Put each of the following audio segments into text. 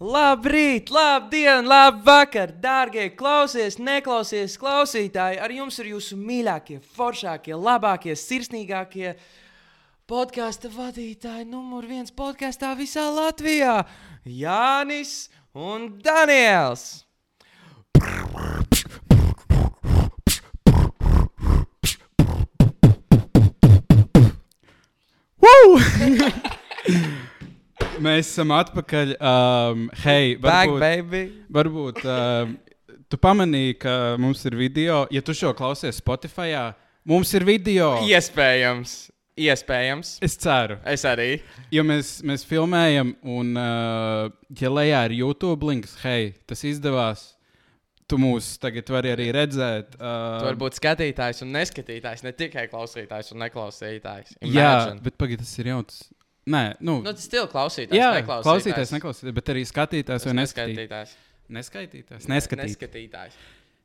Labrīt, labdien, labvakar, dārgie klausies, neklausies klausītāji. Ar jums ir jūsu mīļākie, foršākie, labākie, sirsnīgākie podkāstu vadītāji. Numur viens podkāstā visā Latvijā - Jānis un Daniels. Woo! Mēs esam atpakaļ. Um, hei, Back, varbūt, baby! varbūt um, tu pamanīji, ka mums ir video. Ja tu šo klausies Spotify, mums ir video. Iespējams, iespējams. Es ceru, Es arī. jo mēs, mēs filmējam, un, uh, ja lejā ir YouTube links, hei, tas izdevās. Tu mūs tagad vari arī redzēt. Tu Uh, vari būt skatītājs un neskatītājs, ne tikai klausītājs un neklausītājs. jā, Imagine. bet pagaidi, tas ir jauns. Nē, nu, Nu, tas stila klausītājs. jā, neklausītājs. klausīties, neklausīties, bet arī skatīties, vai neskatīties. Neskatītājs. Neskaitīties, neskatīties. Neskatītājs.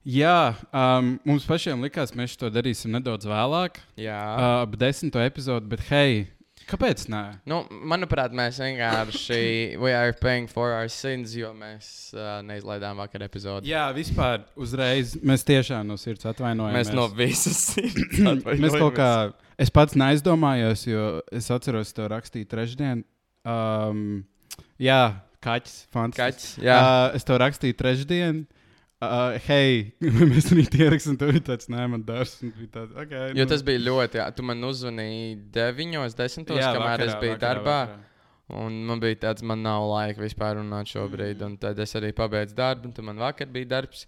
Jā, um, mums pašiem likās, mēs to darīsim nedaudz vēlāk, Jā. Uh. uh, ap desmito epizodu, bet hei, kāpēc nē? Nu, manuprāt, mēs vienkārši we are paying for our sins, jo mēs uh, neizlaidām vakar epizodi. Jā, vispār uzreiz mēs tiešām no sirds atvainojamies. Mēs no visas sirds mēs kaut kā, es pats neaizdomājos, jo es atceros to rakstīju trešdien. Um, jā, kaķis, fantastisks. Kaķis, jā. Uh, es to rakstīju trešdien. Uh, hei, mēs rīt ierakstām, tur bija tāds, nē, man dārsts. un bija tāds, Okay, Jo tas bija ļoti, jā, tu man uzzvanīji 9, 10, Jā, kamēr es vakarā, biju vakarā, darbā. vakarā. Mm. Un man bija tāds, man nav laika vispār runāt šobrīd. Un tad es arī pabeidzu darbu, un tad man vakar bija darbs.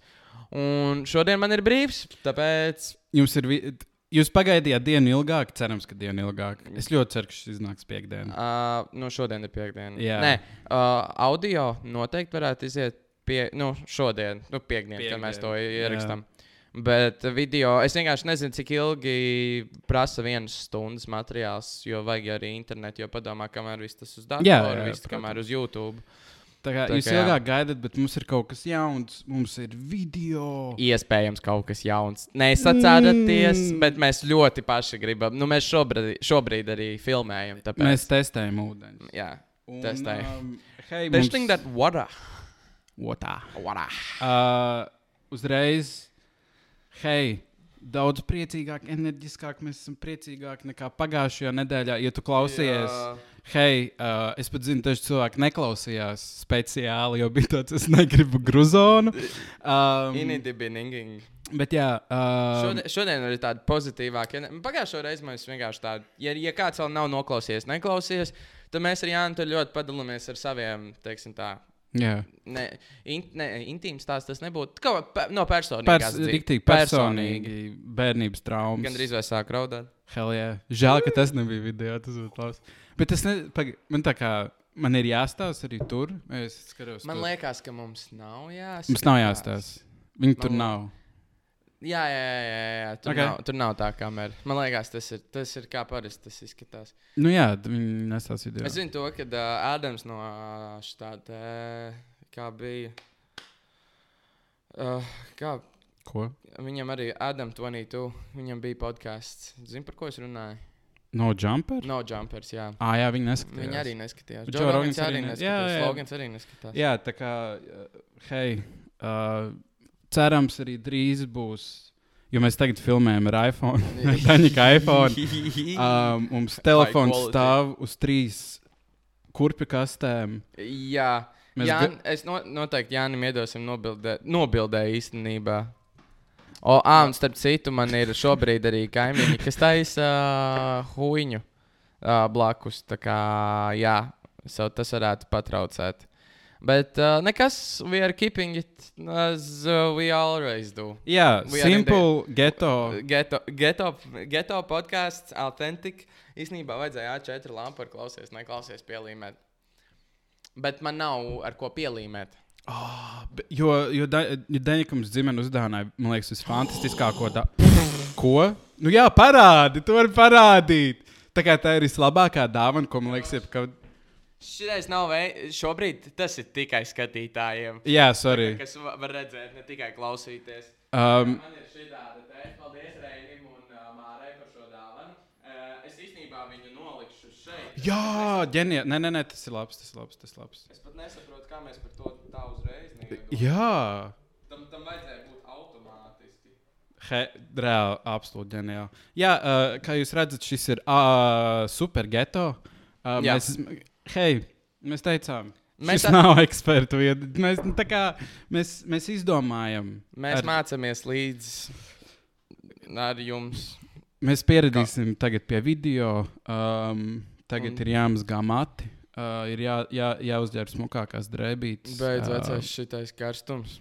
Un šodien man ir brīvs, tāpēc Jums ir. Vi... t- Jūs pagaidījāt dienu ilgāk, cerams, ka dienu ilgāk. Es ļoti ceru, ka šis iznāks piekdienā. Uh, nu, šodien ir piekdiena. Mm. Jā. Nē, uh, audio noteikti varētu iziet pie, nu, šodien, nu, piekdien, piekdien, kad mēs to Piekdien, ierakstām. Bet video, es vienkārši nezinu, cik ilgi prasa vienas stundas materiāls, jo vajag arī internetu, jo padomā, kamēr viss tas uz Jā, datora, jā, viss kamēr uz YouTube. Tā kā tā jūs kā jā. ilgāk gaidāt, bet mums ir kaut kas jauns, mums ir video. Iespējams, kaut kas jauns. Nesacēdaties, mm. bet mēs ļoti paši gribam. Nu, mēs šobrīd, šobrīd arī filmējam. Tāpēc, Mēs testējam ūdeni. jā, Un, Testējam. Um, hei, tas mums... ir tāds vara. Otā. Vara. Uh, uzreiz, hei, daudz priecīgāk, enerģiskāk. Mēs esam priecīgāki nekā pagājušajā nedēļā. Ja tu klausies, Jā. hei, uh, es pat zinu, daži cilvēki neklausījās speciāli, jo bija tāds, es negribu gruzonu. Um, Inidibininging. bet jā, um, Šodien, šodien ir tāda pozitīvāka. ene- Pagājušā reizē mēs vienkārši tādu, ja, ja kāds vēl nav noklausījies, neklausījies, tad mēs ar Jānu tur ļoti padalāmies ar saviem, teiksim, tā. jā. Ne, in, ne, intīms tās tas nebūtu. Kaut kā pe, no personīgās Pers dzīves. riktīgi personīgi bērnības traumas. Gan drīz vai sāk raudāt. Hell, jā. Žēl, ka tas nebija video, tas būtu labs. Bet tas ne, pag, man tā kā, man ir jāstāsta arī tur. Es skatos, Man tur. liekas, ka mums nav jāsaka. Mums nav jāstāsta. Viņi tur Man nav. Jā, jā, jā, jā, jā. Tur, Ok. okay. nav, tur nav tā kamera. Man liekas, tas ir, tas ir kā parasti tas izskatās. Nu jā, d- viņi nestāsta video. Es zinu, to, ka uh, Ādams no uh, štāta, uh, kā bija. Uh, kā Ko? viņam arī Ādams 22, viņam bija podkāsts. Zini, par ko es runāju? No jumper? No jumpers, jā. Ah, jā, viņi neskatās. Viņa arī neskatījās. Bet Džo Joe Rogans Rogans arī arī ne- neskatījās. jā, Jā, jā. jā. Logans arī neskatās. Jā, tā kā, uh, hei, uh, cerams, arī drīz būs. Jo mēs tagad filmējam ar iPhone. Daņika iPhone. Um, mums telefons quality. stāv uz trīs kurpju kastēm. jā. Mēs Jā, ga- es no, noteikti Jānis iedosim nobildē, nobildē īstenībā. O, ā, un starp citu, man ir šobrīd arī kaimiņi, kas taisa uh, huīņu uh, blakus. Tā kā, jā, so tas varētu patraucēt. Bet uh, nekas, we are keeping it as uh, we always do. Jā, We are in Uh, simple geto. Geto, geto, geto podkāsts, authentic. Īsnībā vajadzēja A4 lampu ar klausies, neklausies pielīmēt. Bet man nav ar ko pielīmēt. B- Ah, Jo, jo Daņikams dzimene uzdāvināja, man liekas, visfantastiskāko da... Ko? Nu jā, parādi, to var parādīt. Tā kā tā ir vislabākā dāvana, ko man liekas, jebkad. Šis nav veids, šobrīd tas ir tikai skatītājiem, Jā, sorry. kas va- var redzēt, ne tikai klausīties. Um, Man ir šī tāda te, paldies Reinim un uh, Mārai par šo dāvanu. Uh, es īstenībā viņu nolikšu šeit. Jā, ģenija. Nē, nē, nē, tas ir labs, tas ir labs, tas ir labs. Es pat nesaprotu, kā mēs par to tā uzreiz nedomājam. Jā, Tam, tam vajadzēja būt automātiski. He, reāli, absolūti ģenijāli. Jā, uh, kā jūs redzat, šis ir uh, super geto. Uh, Jā. mēs, hei, mēs teicām, Mēs mēs tā- tam nav ekspertu vieta. Mēs, nu, tā kā, mēs, mēs izdomājam, Mēs Ar- Ar... mācāmies līdzi ar jums. mēs pieredzēsim tagad pie video. Um, tagad Un- Un... ir jāmazgā mati, uh, ir jā, jā, jāuzģēr smukākās drēbītes. Beidz ā, vecais šitais karstums.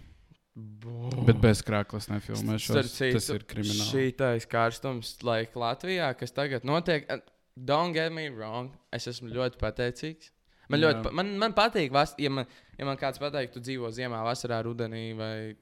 Bet bez krāklas nefilmēšos. Starp citu, Tas ir krimināli. Šitais karstums, laik Latvijā, kas tagad notiek. uh, Don't get me wrong, es esmu ļoti pateicīgs. Man Jā. ļoti pa, man, man patīk, vas, ja, man, ja man kāds pateikt, tu dzīvo ziemā, vasarā, rudenī vai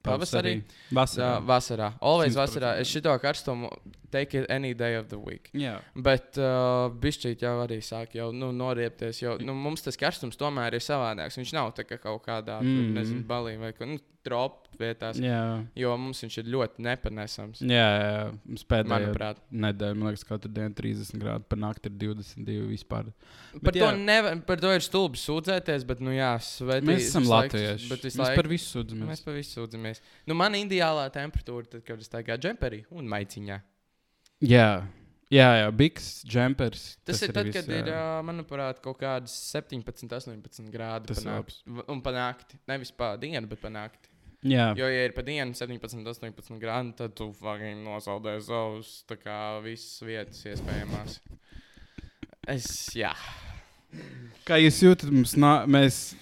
pavasarī. Vasarā. Jā, vasarā. Always 100%. vasarā. Es šito karstumu take it any day of the week. Jā. Bet uh, bišķīt jau arī sāk jau, nu, noriepties. Jau, nu, mums tas karstums tomēr ir savādāks. Viņš nav tā kā kaut kādā mm. Mm. nezinu, balī vai ko, nu, tropu vietās. Jā. Jo mums viņš ir ļoti nepanesams. Jā, jā, jā. Mums pēdējā Manuprāt, nedēļa, man liekas, katru dienu 30 grādi, par nakti ir 22 vispār. par Bet to, jā. neva, par to ir stulbi sūdzēties, bet, nu, jā, sveitīgi. Mēs esam latvieši. Bet Mēs visu laiku par visu mēs sūdzamies. par visu sūdzamies. Nu, man ideālā temperatūra, tad, kad es staigāju džemperī un maiciņā. Jā, jā, jā. biks, džempers. Tas, tas ir tad, viss, kad jā. ir, ā, manuprāt, kaut kādas 17, 18 grādi. Tas pa ir nak- labs. v- Un panākti. Nevis pa dienu, bet panākti. Jā, Jo, ja ir pa dienu 17, 18 grādi, tad tu fucking nosaldē savus, tā kā visas vietas iespējamās. Es, jā. kā jūs jūtat, mums, nā, mēs,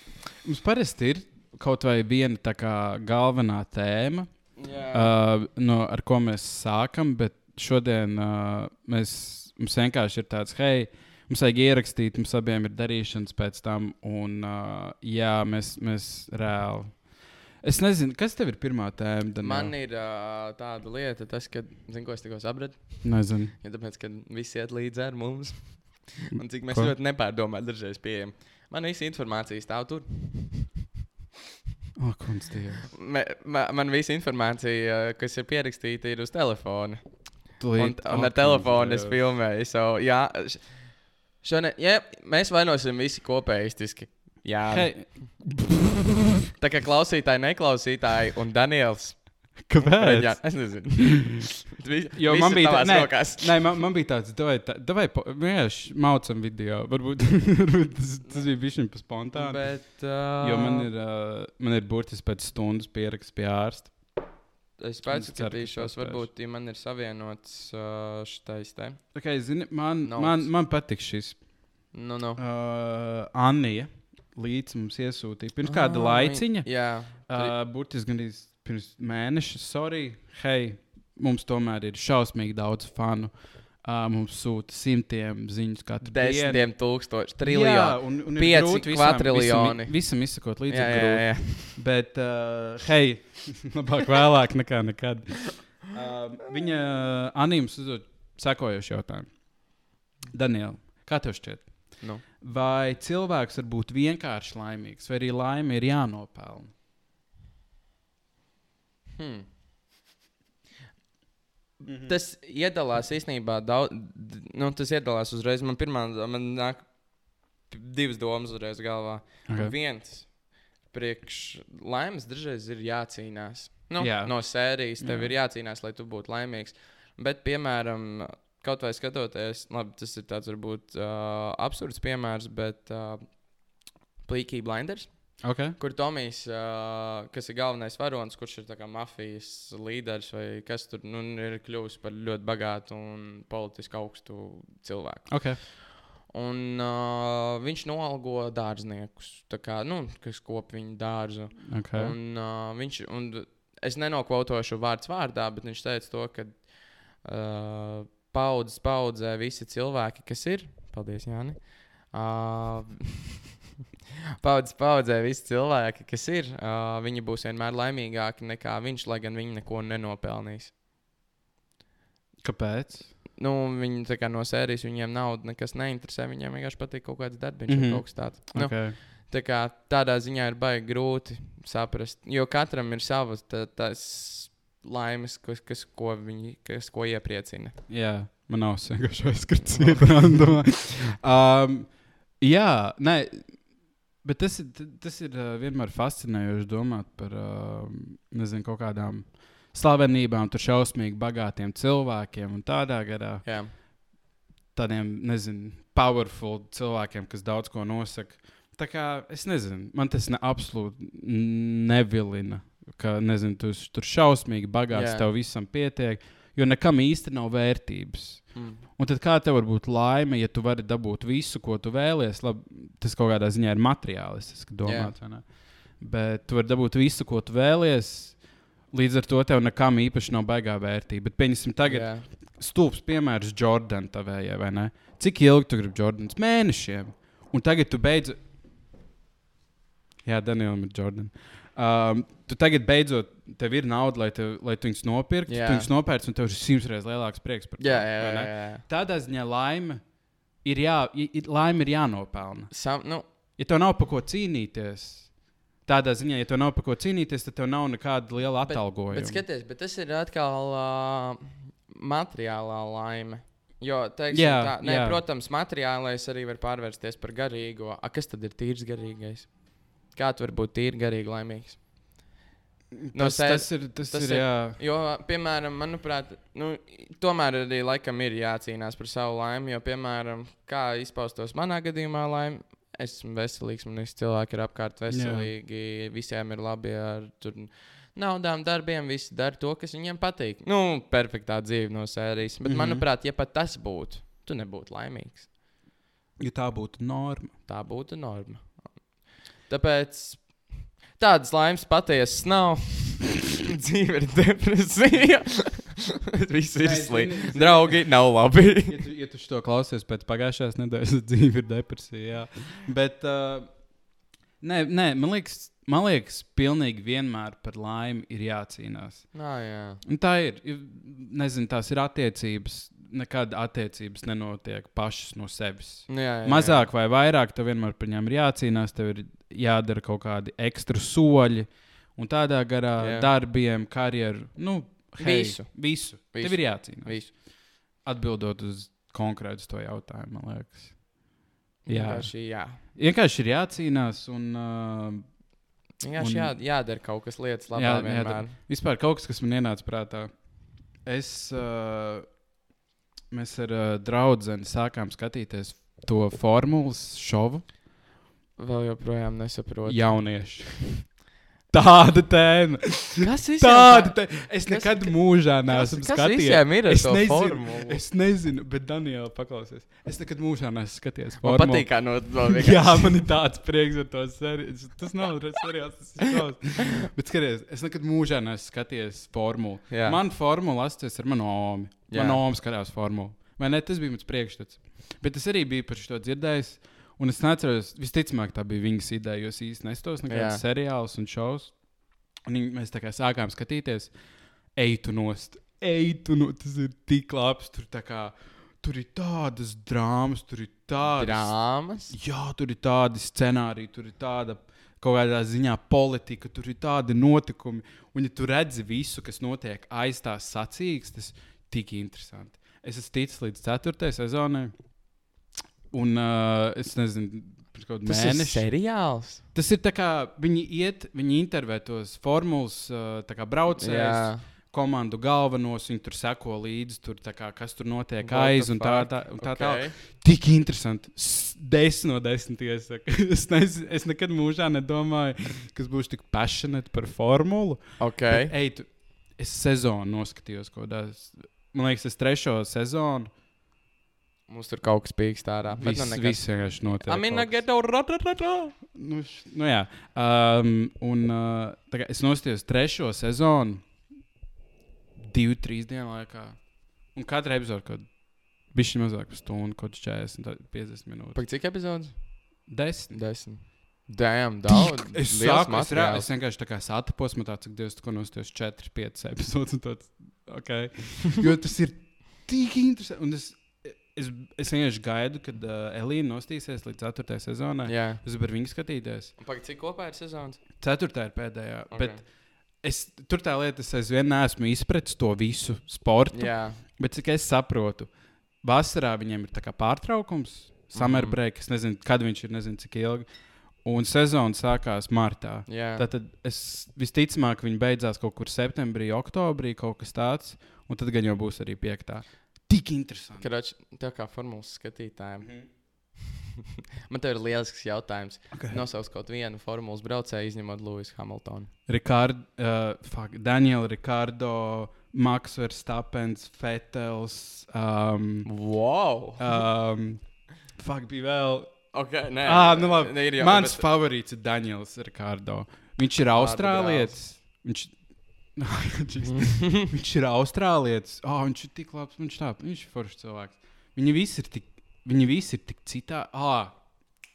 mums parasti ir kaut vai viena tā kā galvenā tēma. jā. Uh, no, ar ko mēs sākam, bet šodien uh, mēs, mums vienkārši ir tāds, hei, mums vajag ierakstīt, mums abiem ir darīšanas pēc tam, un uh, jā, mēs, mēs reāli. Es nezinu, kas tev ir pirmā tēma. Daniel? Man ir uh, tāda lieta, tas, ka, zinu, ko es tikko sapratu, Nezinu. ja tāpēc, ka visi iet līdzi ar mums. Un cik mēs Ko? ko? ļoti nepārdomājam, dažreiz pieejam. Man visa informācija stāv tur. Oh, kungs, Dievs. Me, ma, man visa informācija, kas ir pierakstīta, ir uz telefona. Un, Tūlīt. un Oh, ar telefonu es kungs, Dievs. filmēju. So, jā, š- šone, jā, mēs vainosim visi kopējistiski. Jā, hey. Hei, tā kā klausītāji, neklausītāji un Daniels. kāpēc? Jā, es nezinu. Vi- Jo viss man ir bija tā- tavās nē, rokās. Nē, man, man bija tāds, davai, tā, davai, po- vienkārši maucam video. Varbūt, varbūt tas, tas bija bišķiņ pa spontāni. Bet, uh, Jo man ir, uh, man ir burtiski pēc stundas pieraksts pie ārsta. Es Es pats ceru, ka skatīšos, paspēšu. varbūt ja man ir savienots uh, šis te. Okay, zini, man, Nauc. man, man patīk šis. Nu, nu. Uh, Anija līdzi mums iesūtīja pirms Ah, kāda laiciņa. Jā, Uh, burtiski gandrīz pirms mēneša. Sorry, hei, mums tomēr ir šausmīgi daudz fanu. Uh, mums sūta simtiem ziņu katru dienu. desmitiem tūkstoši, Jā, triljoni. un, un ir pieci grūti visam- kvatriljoni. Visam, visam izsakot līdzi. Jā, ir jā, grūti. jā. Bet, uh, hei, labāk vēlāk nekā nekad. Um, Uh, viņa anīms uzdod sekojošu jautājumu. Daniela, kā tev šķiet? Nu. Vai cilvēks var būt vienkārši laimīgs, vai arī laime ir jānopelna? Hmm. Mm-hmm. Tas iedalās īstenībā daudz. d- Nu, tas iedalās uzreiz. Man pirmā, man nāk p- divas domas uzreiz galvā. Okay. Viens, priekš laimes dažreiz ir jācīnās. Nu, Jā. Jā. No sērijas tev Jā. Jā. ir jācīnās, lai tu būtu laimīgs. Bet, piemēram, kaut vai skatoties, labi, tas ir tāds varbūt uh, absurds piemērs, bet uh, plīkīgi blinders Okay. kur Tomijs, uh, kas ir galvenais varonis, kurš ir tā kā mafijas līderis vai kas tur nu, ir kļuvis par ļoti bagātu un politiski augstu cilvēku. Okay. Un, uh, viņš noalgo dārzniekus, tā kā, nu, kas kop viņa dārzu. Okay. Un... Un, uh, viņš, un es nenokautošu vārds vārdā, bet viņš teica to, ka uh, paudzes paudzē visi cilvēki, kas ir. Paldies, Jāni. Uh, paudzes paudzē visi cilvēki, kas ir. Uh, viņi būs vienmēr laimīgāki nekā viņš, lai gan viņi neko nenopelnīs. Kāpēc? Nu, viņi tā kā no sērijas viņiem nauda nekas neinteresē. Viņiem vienkārši patīk kaut kāds darbs, mm Mhm. -hmm. kaut kas tāds. Nu, Okay. Tā kā, tādā ziņā ir baigi grūti saprast, jo katram ir savas tā, tās laimes, kas, kas, ko, viņi, kas, ko iepriecina. Jā, man nav vienkārši aizskrits. um, jā, nē, bet tas ir, t- tas ir ā, vienmēr fascinējoši domāt par ām, nezinu, kaut kādām slavenībām, tur šausmīgi bagātiem cilvēkiem un tādā garā. Jā, Tādiem, nezinu, powerful cilvēkiem, kas daudz ko nosaka. Tā kā es nezinu, man tas ne, absolūti nevilina. Ka, nezinu, tu esi tur šausmīgi bagāts, Jā. yeah. tev visam pietiek, jo nekam īsti nav vērtības. mm. Un tad kā tev var būt laime, ja tu vari dabūt visu, ko tu vēlies? Lab, tas kaut kādā ziņā ir materiālistiski domāts. vai ne? Bet tu vari dabūt visu, ko tu vēlies. Līdz ar to tev nekam īpaši nav baigā vērtība. Bet, pieņemsim, tagad jā. stulbs piemērs Jordāna tavējai, vai ne? Cik ilgi tu gribi Jordāns? Mēnešiem. Un tagad tu beidz. Jā, Danielam ir Jordāna. Um, tu tagad beidzot, tev ir nauda, lai, tev, lai tu viņus nopirktu. Jā. Tu viņus nopērci, un tev ir simts reizes lielāks prieks par to. jā, jā, vai jā, ne? jā. jā. tādā ziņā laime ir, jā, i- i- laime ir jānopelna. Sam, nu, Ja tev nav par ko cīnīties, tādā ziņā, ja tev nav par ko cīnīties, tad tev nav nekāda liela atalgojuma. bet skaties, bet tas ir atkal uh, materiālā laime. Jo, teiksim, jā, Jā, tā, ne, jā. protams, materiālais arī var pārvērsties par garīgo. A, kas tad ir tīrs garīgais? Kā tu vari būt tīri garīgi laimīgs? no tas, sē- tas ir. Tas tas tas ir- ir, jā. Jo, piemēram, manuprāt, nu, tomēr arī laikam ir jācīnās par savu laimi. Jo, piemēram, kā izpaustos manā gadījumā, laime, es esmu veselīgs, man visi cilvēki ir apkārt veselīgi, Jā. visiem ir labi ar tur, naudām, darbiem, visi dara to, kas viņiem patīk. Nu, perfektā dzīve no sērijas. Bet, mm Mhm. -hmm. manuprāt, ja pat tas būtu, tu nebūtu laimīgs. Ja tā būtu norma. Tā būtu norma. Tāpēc tādas laimes patiesas nav. Dzīve ir depresija. Viss ir slikti. Nē, zini, zini. Draugi nav labi. Ja tu, ja tu to klausies pēc pagājušās nedēļas, tad dzīve ir depresija. Jā. Bet, uh, nē, nē, man liekas, man liekas, pilnīgi vienmēr par laimi ir jācīnās. Nā, jā. Un tā ir. ir- Nezinu, tās ir attiecības. Nekad attiecības nenotiek pašas no sevis. Nu, jā, jā, jā. Mazāk vai vairāk, tev vienmēr par viņiem ir jācīnās, tev ir jādara kaut kādi ekstra soļi. Un tādā garā Jā. darbiem, karjeru, nu, hei, Visu. Visu. visu. visu. Tev ir jācīnās. Visu. Atbildot uz konkrētu to jautājumu, man liekas. Jā, Jā. vienkārši, jā. Vienkārši ir jācīnās un uh, vienkārši Un- jā, jādara kaut kas lietas labā. Jā, Jā, jā, jādara. Vispār kaut kas, kas man ienāca prātā. Es, uh, mēs ar uh, draugu sākām skatīties to formulas šovu. Vēl joprojām nesaprotu. Jaunieši. Tāda tēma. Kas ir Tāda tēma. Es kas- nekad mūžā Kas, neesmu kas skatījies. visiem ir ar Es to nezinu, formulu? es nezinu, bet Daniela paklausies. Es nekad mūžā neesmu skatījies. Man formulu. patīk, kā no to Jā, man ir tāds prieks par to seriālu. Tas nav re- seriāls, tas ir šausmas. Bet skaties, es nekad mūžā neesmu skatījies formulu. Jā. Man formula asociēs ar manu omu. Jā. Manā omā skatījās formulu. Vai ne? Tas bija mans priekšstats. Bet es arī biju par šo dzirdējis. Un es neatceros, visticamāk, tā bija viņas ideja, jo es īstenībā nestos Jā. nekādus seriālus un šovus. Un viņi- mēs tā kā sākām skatīties, eju tu nost, eju tu nost, tas ir tik labs. Tur, tā kā, tur ir tādas drāmas, tur ir tādas Drāmas. Jā, tur ir tādi scenāriji, tur ir tāda kaut kādā ziņā politika, tur ir tādi notikumi. Un, ja tu redzi visu, kas notiek aiz tās sacīkstes, tik interesanti. Es esmu ticis līdz ceturtajai sezonai, un uh, es nezinu, pirms kaut kāda Tas ir mēneša. seriāls. Tas ir tā kā viņi iet, viņi intervē tos formulas uh, tā kā braucējus Jā, komandu galvenos, viņi tur seko līdzi, tur, tā kā, kas tur notiek What aiz the un tā, fuck? tā, un tā Ok. tālāk. Tik interesanti. S- Desmit no desmit iesaku. Es, nez, es nekad mūžā nedomāju, kas būs tik passionate par formulu. Okay. Bet, eh, Ej, tu, es sezonu noskatījos kaut kādā. s- Man liekas, es trešo sezonu. Mums tur kaut kas pīkst ārā. Bet nu Viss, nekas. viss vienkārši notiek. Amina kaut kas. Geto, ratatata. Nu, š- nu jā. Um, un uh, tā kā es nostājos trešo sezonu, divu, trīs dienu laikā. Un katra epizode kaut bija mazāk par stundu, kaut kāds 40, tā- 50 minūtes. Pag cik epizodes? Desmit. Desmit. Dēm, daudz. Tik- Es, liels sāku, es, rā, materiāls. es vienkārši tā kā satapos, man tāds, Dievs, ko nostājos 4, 5 epizodes. un Tāds, okay. Jo tas ir tik interesanti. Un es, es, es vienkārši gaidu, kad uh, Elīna nostīsies līdz 4. sezonai. Jā. Es varu par viņu skatīties. Un Pag cik kopā ir sezonas? 4. ir pēdējā. Okay. Bet Es, tur tā lieta, es aizvien neesmu izpratis to visu sportu. Jā, Bet cik es saprotu, vasarā viņiem ir tā kā pārtraukums, Mhm. summer break, es nezinu, kad viņš ir, nezinu, cik ilgi. Un sezona sākās martā. jā. Tad... Tad es visticamāk, viņi beidzās kaut kur septembrī, oktobrī, kaut kas tāds. Un tad gan jau būs arī piektā. Tik interesanti. Kroč, tev kā formulas skatītājiem. Man te ir lielisks jautājums. Okay. No. Nosauc kaut vienu formulas braucēju, izņemot Lūsu Hamiltonu. Rikard, uh, fuck, Daniela, Rikardo, Maks, Verstapens, Fetels. Um, Wow! um, fuck, bija vēl. Okay, nē, Ah, nu labi. Ne, ir jau, Mans bet- favorīts ir Daniels Rikārdo. Viņš ir austrālietis. Viņš... viņš ir austrālietis. Oh, viņš ir tik labs, viņš, tā, viņš ir foršs cilvēks. Viņi visi ir tik, viņi visi ir tik citā. Ah,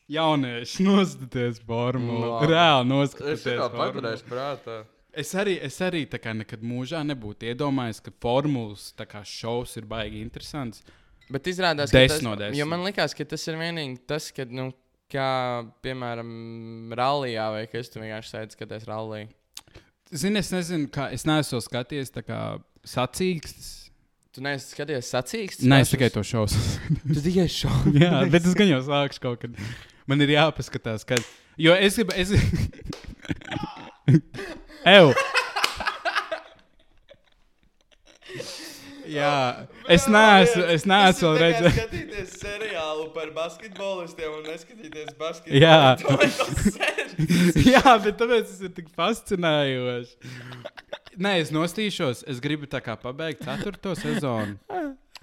jaunieši, noskatieties formulu. Nu Labi. Reāli Es noskatieties. jau formulu. paturēšu prātā. Es arī, es arī tā kā nekad mūžā nebūtu iedomājies, ka formulas tā kā, šovs ir baigi interesants. Bet izrādās, ka Desmit tas, no desmit. jo man liekas, ka tas ir vienīgi tas, kad, nu, kā, piemēram, rallija vai kas tu vienkārši sēdi skaties rallija. Zini, es nezinu, kā es neesmu skatījies tā kā sacīkstas. Tu neesi skaties sacīksts? Nē, es tikai to šausmu. Tu tikai šo. Jā, bet es gan jau sāku kaut kad. Man ir jāpaskatās, kad. Jo es gribu. Es... Ew! Jā, es neesmu, es neesmu vēl redzējis. skatīties seriālu par basketbolistiem un neskatīties basketbolu. Jā. Tu tas Jā, bet tāpēc tas ir tik fascinējoši. Nē, es nostīšos. Es gribu tā kā pabeigt ceturto sezonu.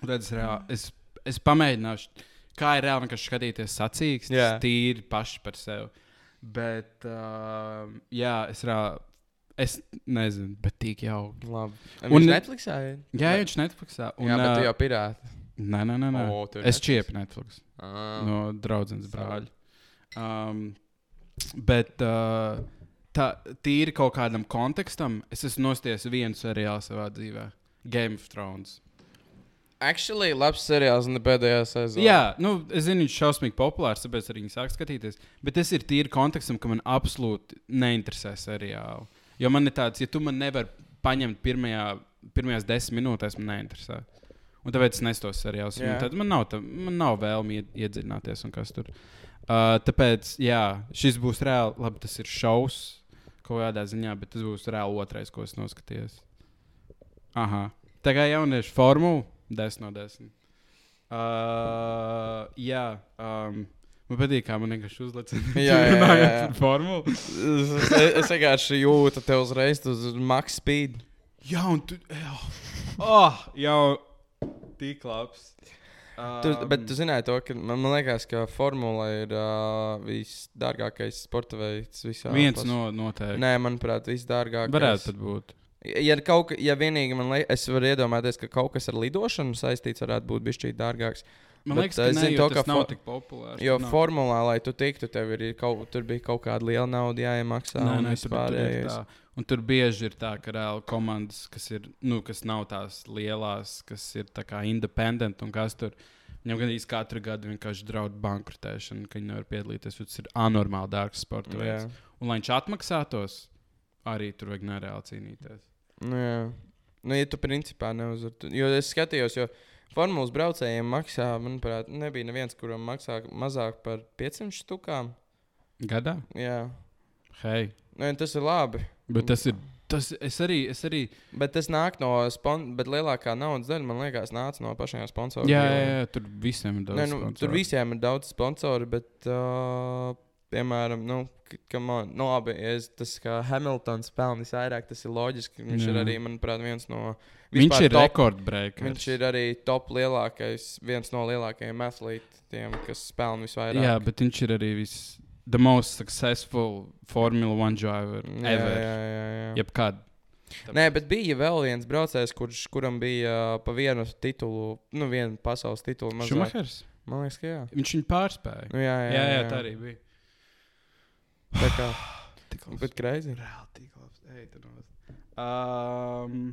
Tad es, reāli- es, es pamēģināšu, kā ir reāli vienkārši skatīties sacīks, Jā. tīri paši par sevi. Bet, uh, jā, es reāli. Es nezinu, bet tik jauki. Labi. Un- Un Netflixā ir? Jā, viņš ir Netflixā. Un, Un, jā, bet tu ā, jau pirāti. Nē, nē, nē. nē. O, tu ir es Nu. Netflix? čiepu Netflix Ah. no draudzenes Savu. brāļa. Um, bet uh, tā tīri kaut kādam kontekstam, es esmu nosties vienu seriālu savā dzīvē. Game of Thrones. Actually, labs seriāls ne pēdējā sezonā. Jā, nu, es zinu, viņš ir šausmīgi populārs, tāpēc arī viņi sāk skatīties. Bet tas ir tīri kontekstam, ka man absolūti neinteresē seriāli. Jo man ir tāds, ja tu man nevari paņemt pirmajā, pirmajās desmit minūtēs, man neinteresē. Un tāpēc es nestos seriālus. Jā. un Tad man nav, tā, man nav vēlmi ied- iedziļināties un kas tur. Uh, tāpēc, jā, šis būs reāli, labi, tas ir šausmas kaut kādā ziņā, bet tas būs reāli otrais, ko es noskatījos. Aha. Tā kā jauniešu formula 10 no 10. Uh, jā, um, man patīk, kā man vienkārši uzlika. Jā, jā, jā, jā. par formulu. Es, es vienkārši jūtu te uzreiz uz max speed. Jā, un tu. Jā, oh, jau tik labs. Tu, Um, bet tu zināji to, ka man, man liekas, ka formula ir uh, visdārgākais sporta veids visā Um, viens pas- no noteikti. Nē, manuprāt, visdārgākais. Varētu pat būt. Ja, kaut, ka- ja vienīgi man liekas, es varu iedomāties, ka kaut kas ar lidošanu saistīts varētu būt bijis dārgāks. Man Bet liekas, ka es ne, zinu jo to, tas ka nav fo- tik populārs. Jo Nav. no. formulā, lai tu tiktu, tev ir kaut, tur bija kaut kāda liela nauda jāiemaksā. Nē, un nē, tur, tur, ir vispārējais. tā. Un tur bieži ir tā, ka reāli komandas, kas, ir, nu, kas nav tās lielās, kas ir tā kā independent un kas tur. Viņam gandrīz katru gadu vienkārši draud bankrotēšana, ka viņi nevar piedalīties. jo Tas ir anormāli dārgs sports veids. Jā. Un, lai viņš atmaksātos, arī tur vajag nereāli cīnīties. Nu, jā. Nu, ja tu principā neuzvari. tu- Jo es skatījos, jo formulas braucējiem maksā, manuprāt, nebija neviens, kuram maksā mazāk par 500 štukām. Gadā? Jā, Hei, nu, ja tas ir labi. bet tas ir. Tas, es arī, es arī. Bet tas nāk no sponsora, bet lielākā naudas daļa, man liekas, nāca no pašiem sponsoriem. Jā, jā, jā, tur visiem ir daudz. Nē, nu, tur sponsoru. visiem ir daudz sponsoru, bet, uh, piemēram, nu, man, nu, labi, ja es, tas kā Hamiltons pelnīs vairāk, tas ir loģiski. Viņš ir Jā. arī, manuprāt, viens no Viņš vispār ir rekordbreakers. Viņš ir arī top lielākais, viens no lielākajiem atlētiem, kas pelna visvairāk. Jā, bet viņš ir arī vis, the most successful Formula One driver jā, ever. jā, jā, jā. Jebkad. Nē, bet bija vēl viens braucējs, kurš, kuram bija uh, pa vienu titulu, nu, vienu pasaules titulu. mazāk. Šumahers. Man liekas, ka jā. Viņš viņu pārspēja. Nu, jā, jā, Jā, jā, jā, tā arī bija. Tā kā, Tik labs. bet greizi. Reāli tik labs. Ej, tur nost. Um,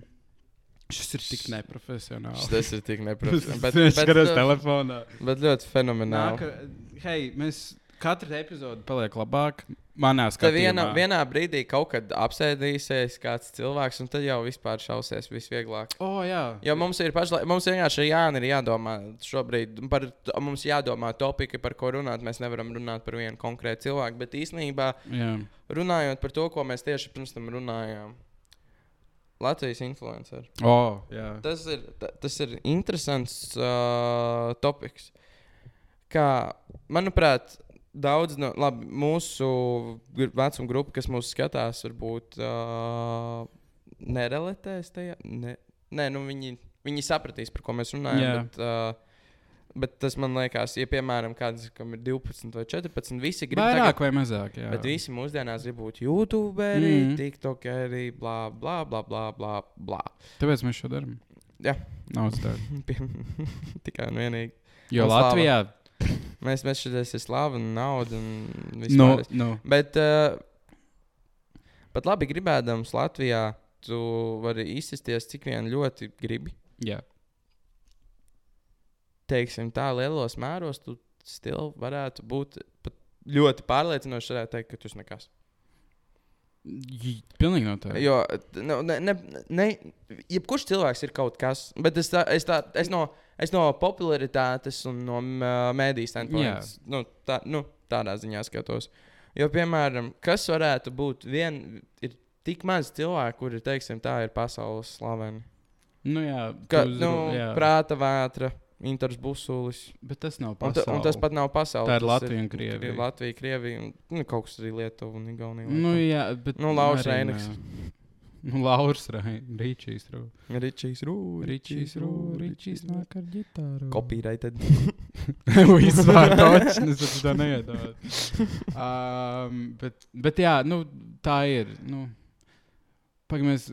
šis ir tik neprofesionāls. Tas ir tik neprotams. bet, viņš bet, skatās uh, telefonā. bet ļoti fenomenāli. Nāka, hei, mēs katru epizodu paliek labāk. Manā Tad skatījumā. vienā, vienā brīdī kaut kad apsēdīsies kāds cilvēks, un tad jau vispār šausies visvieglāk. Oh, jā. Jo mums ir pašlaik, mums vienkārši ir jāna ir jādomā šobrīd par, to- mums jādomā topiki, par ko runāt. Mēs nevaram runāt par vienu konkrētu cilvēku, bet īsnībā jā. runājot par to, ko mēs tieši pirms tam runājām. Latvijas influenceri. Oh, jā. Tas ir, ta- tas ir interesants uh, topoks. Kā, manuprāt, daudz no labi, mūsu gr- vecuma grupa, kas mūsu skatās, varbūt uh, nerelatēs tajā. Ne, nē, nu viņi, viņi sapratīs, par ko mēs runājam. Jā. Bet, uh, bet tas man liekas, ja piemēram kāds, kam ir 12 vai 14, visi grib Vairāk vai mazāk? Jā. Bet visi mūsdienās grib būt YouTube, arī mm. Mhm. TikTok, arī bla, bla, bla, bla, bla. bla. Tāpēc mēs šo darām. Jā. Nav stāvot. Pie- Tikai un vienīgi. Jo Un slava. Latvijā. Mēs, mēs šeit esam slavi un naudu un viss. Nu, No. nu. Bet, uh, bet labi, gribēdams Latvijā, tu vari izsisties cik vien ļoti gribi. Jā. Teiksim, tā lielos mēros tu still varētu būt pat ļoti pārliecinoši, varētu teikt, ka tu esi nekas. J- Pilnīgi no tā. Jo, t- nu, ne, ne, ne, jebkurš cilvēks ir kaut kas, bet es, tā, es, tā, es, no, es no popularitātes un no mēdīs standpunkta, Jā. nu, tā, nu, tādā ziņā skatos. Jo, piemēram, kas varētu būt vien, ir tik maz cilvēku, kuri, teiksim, tā ir pasaules slaveni. Nu, jā, Ka, tu uzru- nu, jā. prāta vētra, Inters Busulis. Bet tas Un, nav ta, pasaules. un tas pat nav pasaules. Tā ir tas Latvija un Ir Krievija. Latvija, Krievija un nu, kaut kas arī Lietuva un Igaunija. Nu, laikam. jā, bet. Nu, Lauris arī Reinigs. nē. Nu, Lauris Reinigs. Rīčīs. Rū. Ričijs Rū. Ričijs. Rū. Ričijs nāk ar ģitāru. Copyrighted. Vispār točnes, bet tu to neiedomājies. Um, bet, bet jā, nu, tā ir. Nu. Pagaidām, mēs.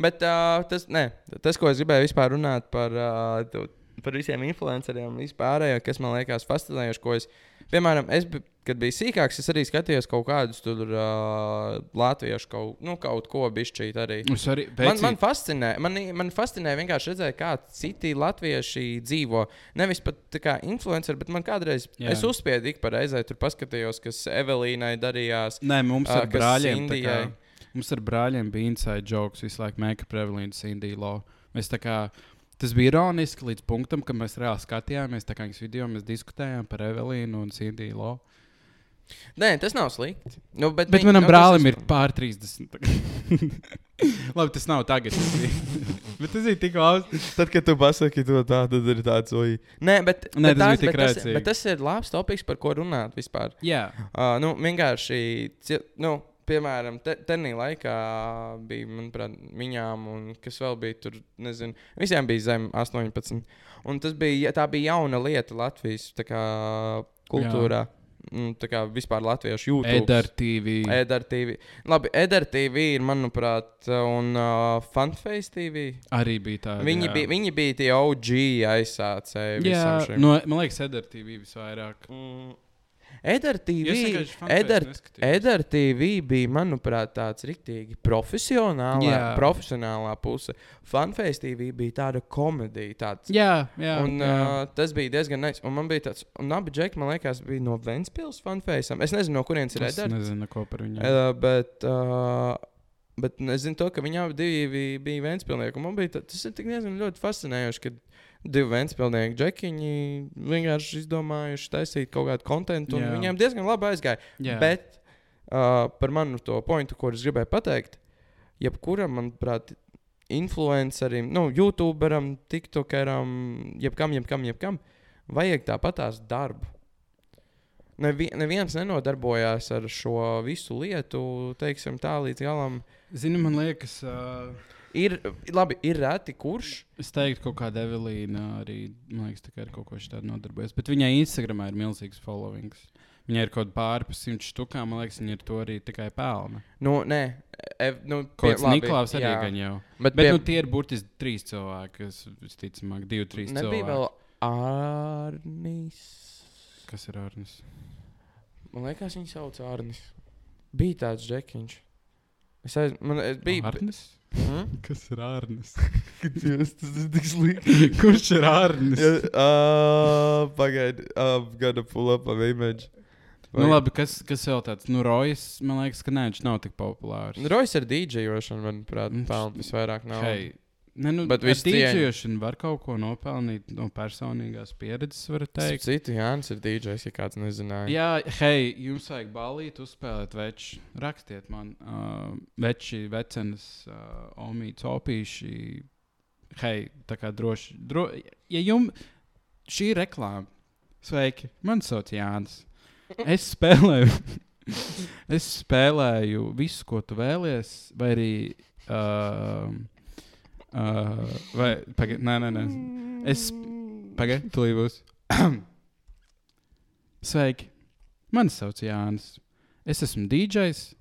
Bet uh, tas, nē, tas, ko es gribēju vispār runāt par, uh, tu- par visiem influenceriem, vispārējo, kas man liekas fascinējoši, ko es, piemēram, es, bi- kad biju sīkāks, es arī skatījos kaut kādus tur uh, latviešu kaut, nu, kaut ko bišķīt arī. Mums arī. Man, man fascinē, man, i- man fascinē vienkārši redzēt, kā citi latvieši dzīvo. Nevis pat tā kā influenceri, bet man kādreiz Jā. Jā. es uzspiedu ik pa reizei, tur paskatījos, kas Evelīnai darījās. Nē, mums Ā, ar kas brāļiem. tā Indijai. Kā, mums ar brāļiem bija inside jokes visu laiku, make prevalence Indijā. law. Mēs tā kā. Tas bija ironiski līdz punktam, kad mēs reāli skatījāmies, tā kā viņas video mēs diskutējām par Evelīnu un Sindiju Lo. Nē, tas nav slikti. Nu, bet Bet viņi- manam nu, tas es- brālim ir pār 30. Labi, tas nav tagad. tas bija. bet tas bija tik labi. Tad, kad tu pasaki to tā, tad ir tāds oi. Nē, bet, Nē, bet tas bija tās- tik bet tas, rēcīgi. bet tas ir labs topoks, par ko runāt vispār. Jā, Uh, nu, vienkārši, cil- nu, piemēram, te, tenī laikā bija, manuprāt, viņām, un kas vēl bija tur, nezinu, visiem bija zem 18. Un tas bija, ja- tā bija jauna lieta Latvijas tā kā, kultūrā, un tā kā vispār latviešu jūtā. Edgar TV. Edgar TV. Labi, Edgar TV ir, manuprāt, un uh, Funface TV. Arī bija tā. Viņi jā. bija, viņi bija tie OG aizsācēji. visam Jā, nu. šim. no, man liekas, Edgar TV visvairāk. Mm. Edgar Es TV, vienkārši fanfēs Edgar- neskatījos. Edgar TV bija, manuprāt, tāds rīktīgi profesionālā, Jā. profesionālā puse. Funface TV bija tāda komēdija. Tāds. Jā, jā. Un, jā. uh, tas bija diezgan nice. Un man bija tāds, un abi džekļi, man liekas, bija no Vēncpilsnes fanfēsām. Es nezinu, no kurienes ir es Edgars. nezinu, ko par viņu. Uh, bet, uh, bet es zinu, to, ka viņi abi divi bija Vēncpilsnieki. Un Man bija tā, tas ir tik diezgan ļoti fascinējoši, ka divi Vēncpilsnieki džekiņi vienkārši izdomājuši taisīt kaut kādu kontekstu, un Jā. viņiem diezgan labi aizgāja. Jā. Bet uh, par manu to pointu, ko es gribēju pateikt, jebkuram, manuprāt, influencerim, nu, youtuberam, tiktokeram, jebkam, jebkam, jebkam, vajag tāpatās darbu. Nevi, neviens nenodarbojās ar šo visu lietu, teiksim, tā līdz galam. Zini, man liekas, uh, Ir, labi, ir reti, kurš. es teiktu, ka kaut kāda Evelīna arī, man liekas, tā kā ar kaut ko tādu nodarbojas. Bet viņai Instagramā ir milzīgs followings. Viņai ir kaut kāda pārpas simt štukām, man liekas, viņa ir to arī tikai pelna. Nu, nē, ev, nu, pie- Kaut kāds labi, Niklaus arī jā. gan jau. Bet, Bet bet pie, nu, tie ir burtiski trīs cilvēki, kas, visticamāk, divi, trīs nebija cilvēki. vēl Arnijas. Kas ir Arnis? Man liekas, viņu sauc Arnijas. Bija tāds džekiņš. Es, aiz, man, es biju. Arnis? Mm? Kas ir Arnis? Dievs, tas ir tik slikti. Kurš ir Arnis? uh, Pagaidiet, I'm gonna pull up an image. Nu, labi, kas, kas vēl tāds? Nu, Rojas, man liekas, ka nē, viņš nav tik populārs. Rojas ar dīdžejošanu, manuprāt, Viņš- pelna visvairāk naudas. Mm. Hei, ne, nu, Bet bet viss viņš cieņa. tīģēšana var kaut ko nopelnīt no personīgās pieredzes, var Starp teikt. citu, Jānis ir dīdžejs, ja kāds nezināja. Jā, hei, jums vajag balīt, uzspēlēt veču. Rakstiet man, uh, veči, vecenas, uh, omīts, opīši. Hei, tā kā droši. Dro, ja jums šī ir reklāma, sveiki, man sauc Jānis. Es spēlēju. es spēlēju visu, ko tu vēlies, vai arī. Uh, uh, vai, pagaid, nē, nē, nē. Es. Pagaid, tu līdzi. Sveiki! Mani sauc Jānis. Es esmu DJs.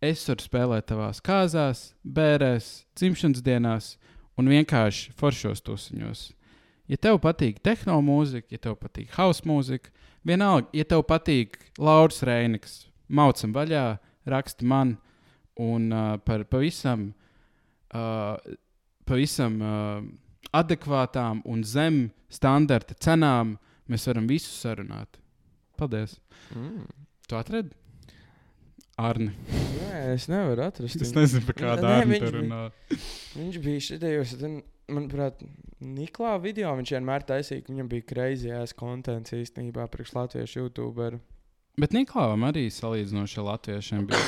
Es varu spēlēt tavās kārzās, bērēs, dzimšanas dienās un vienkārši foršos tusiņos. Ja tev patīk tehno mūzika, ja tev patīk house mūzika, vienalga, ja tev patīk Lauris Reinigs, maucam vaļā, raksti man un uh, par pavisam, uh, pavisam uh, adekvātām un zem standarta cenām mēs varam visu sarunāt. Paldies! Mm. Tu atradi? Arni. Nē, es nevaru atrast. Es viņu. nezinu, par kādu Nē, Arni viņš bija- tur runā. Viņš bija šitējos, tad, manuprāt, Niklā video viņš vienmēr taisīja, ka viņam bija kreizijās kontents īstenībā priekš latviešu youtuberu. Bet Niklausam arī salīdzinoši ar latviešiem bija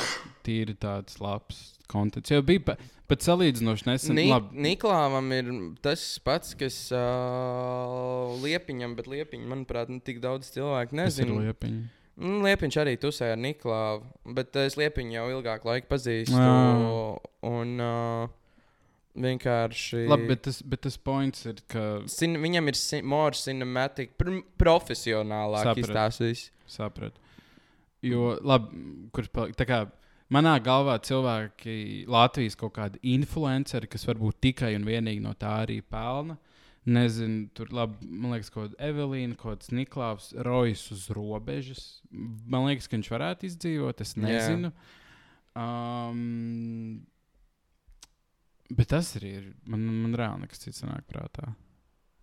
tīri tāds labs konteksts. Jau bija pa- pat salīdzinoši nesen. Ni labi. Niklāvam ir tas pats, kas uh, liepiņam, bet liepiņam, manuprāt, ne tik daudz cilvēku Tas ir nezina. liepiņi. Mm, Liepiņš arī tusēja ar Niklāvu, bet es liepiņu jau ilgāku laiku pazīstu. Jā. Un uh, vienkārši. Labi, bet tas, bet tas points ir, ka Cin, viņam ir cin more cinematic, pr profesionālāk Sapratu. izstāstījis. sapratu. Jo, labi, kurš paliek. Tā kā manā galvā cilvēki, Latvijas kaut kādi influenceri, kas varbūt tikai un vienīgi no tā arī pelna. Nezinu, tur labi, man liekas, kaut kāda Evelīna, kaut kāds Niklaus, Rojas uz robežas. Man liekas, ka viņš varētu izdzīvot, es Jā. nezinu. Um, bet tas arī ir. Man, man reāli nekas cits nāk prātā.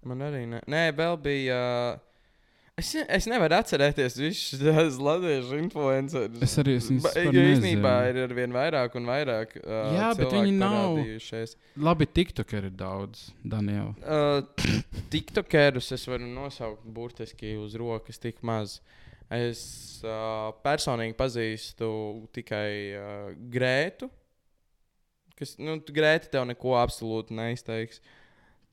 Man arī ne. Nē, vēl bija. Uh, es, ne- es nevaru atcerēties visus tos latviešu influencerus. Es arī esmu. Ba- Jo īstenībā ir ar vien vairāk un vairāk. Uh, Jā, bet cilvēku viņi nav- parādījušies. Labi, TikTok ir daudz, Daniela. Uh, Tiktokerus es varu nosaukt burtiski uz rokas tik maz. Es uh, personīgi pazīstu tikai uh, Grētu. Kas, nu, tu- Grēta tev neko absolūti neizteiks.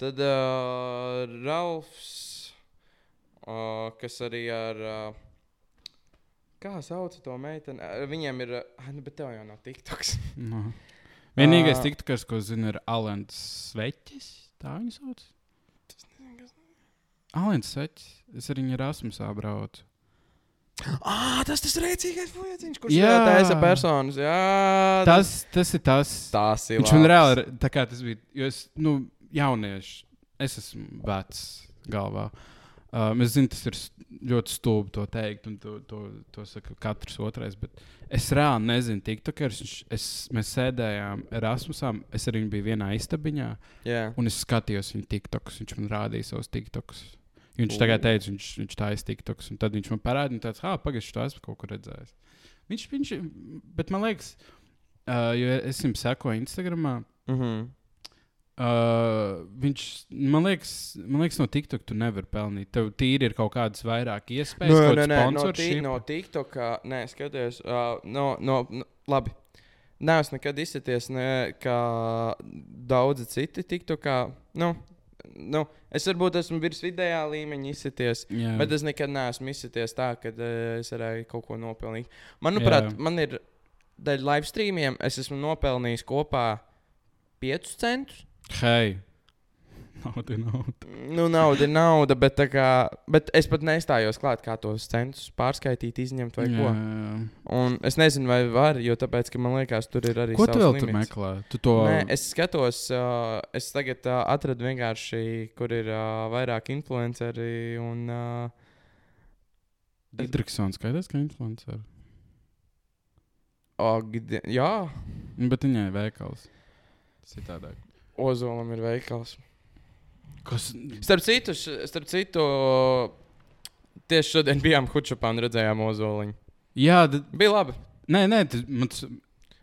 Tad uh, Ralfs, uh, kas arī ar. Uh, kā sauc to meiteni? Uh, viņiem ir. Uh, nu, bet tev jau nav TikToks. No. Vienīgais Ā. tiktoks, ko zinu, ir Alans Sveķis. Tā viņa sauc. Alans Sveķis. Es ar viņu Erasmusā braucu. Ah, tas tas rēcīgais fujeciņš, kurš Jā. jā, tā ir personas. Jā, Tas, tas ir tas. tas ir. Viņš man labs. reāli ir. Tā kā tas bija. Jo es, nu, jaunieši. Es esmu vecs galvā. Um, es zinu, tas ir s- ļoti stulbi to teikt, un to, to, to saka katrs otrais. Bet es reāli nezinu, tiktokers. viņš- Es, mēs sēdējām Erasmusā. Es ar viņu biju vienā istabiņā. Jā, Un es skatījos viņa tiktokus, viņš man rādīja savus tiktokus. Viņš Ū. Ooh. tagad teica, viņš, viņš taisīja tiktokus, un tad viņš man parādīja, tāds, ah, pagaidi, to esmu kaut kur redzējis. Viņš, viņš, bet man liekas, uh, jo es viņam sekoju Instagram, mm -hmm. uh, viņš, man liekas, man liekas, no TikTok tu nevari pelnīt. Tev tīri ir kaut kādas vairāk iespējas, nē, kaut Nu, nē, nē, kādas no, tī, sponsorship. no TikTokā, nē, skaties, uh, no, no, no, labi. Nē, es nekad izsaties, ne, kā daudzi citi TikTokā. Nu, nu, es varbūt esmu virs vidējā līmeņa izsaties. Jā. Bet es nekad neesmu izsmeļojies tā, ka eh, es varēju kaut ko nopelnīt. Manuprāt, Jā. Jā. man ir daļa live streamiem. Es esmu nopelnījis kopā 5 centus. Hei! Nauda, nauda. Nu, nauda ir nauda, bet, tā kā, bet es pat nestājos klāt, kā tos centus pārskaitīt, izņemt vai Jā, ko. jā, jā. Un es nezinu, vai var, jo tāpēc, ka man liekas, tur ir arī. Ko tu savs vēl tur limits. meklē? Tu to Nē, es skatos, uh, es tagad uh, atradu vienkārši, kur ir uh, vairāk influenceri un. Uh, Digitālsons skaidrs, ka influencer. oh, gdi- jā, Nu, Bet viņai ir veikals. Citādāk. Ozolam ir veikals. Kas? Starp citu, š- starp citu, tieši šodien bijām Hučapā un redzējām ozoliņu. Jā, tad, Bija labi. nē, nē, tas man tas.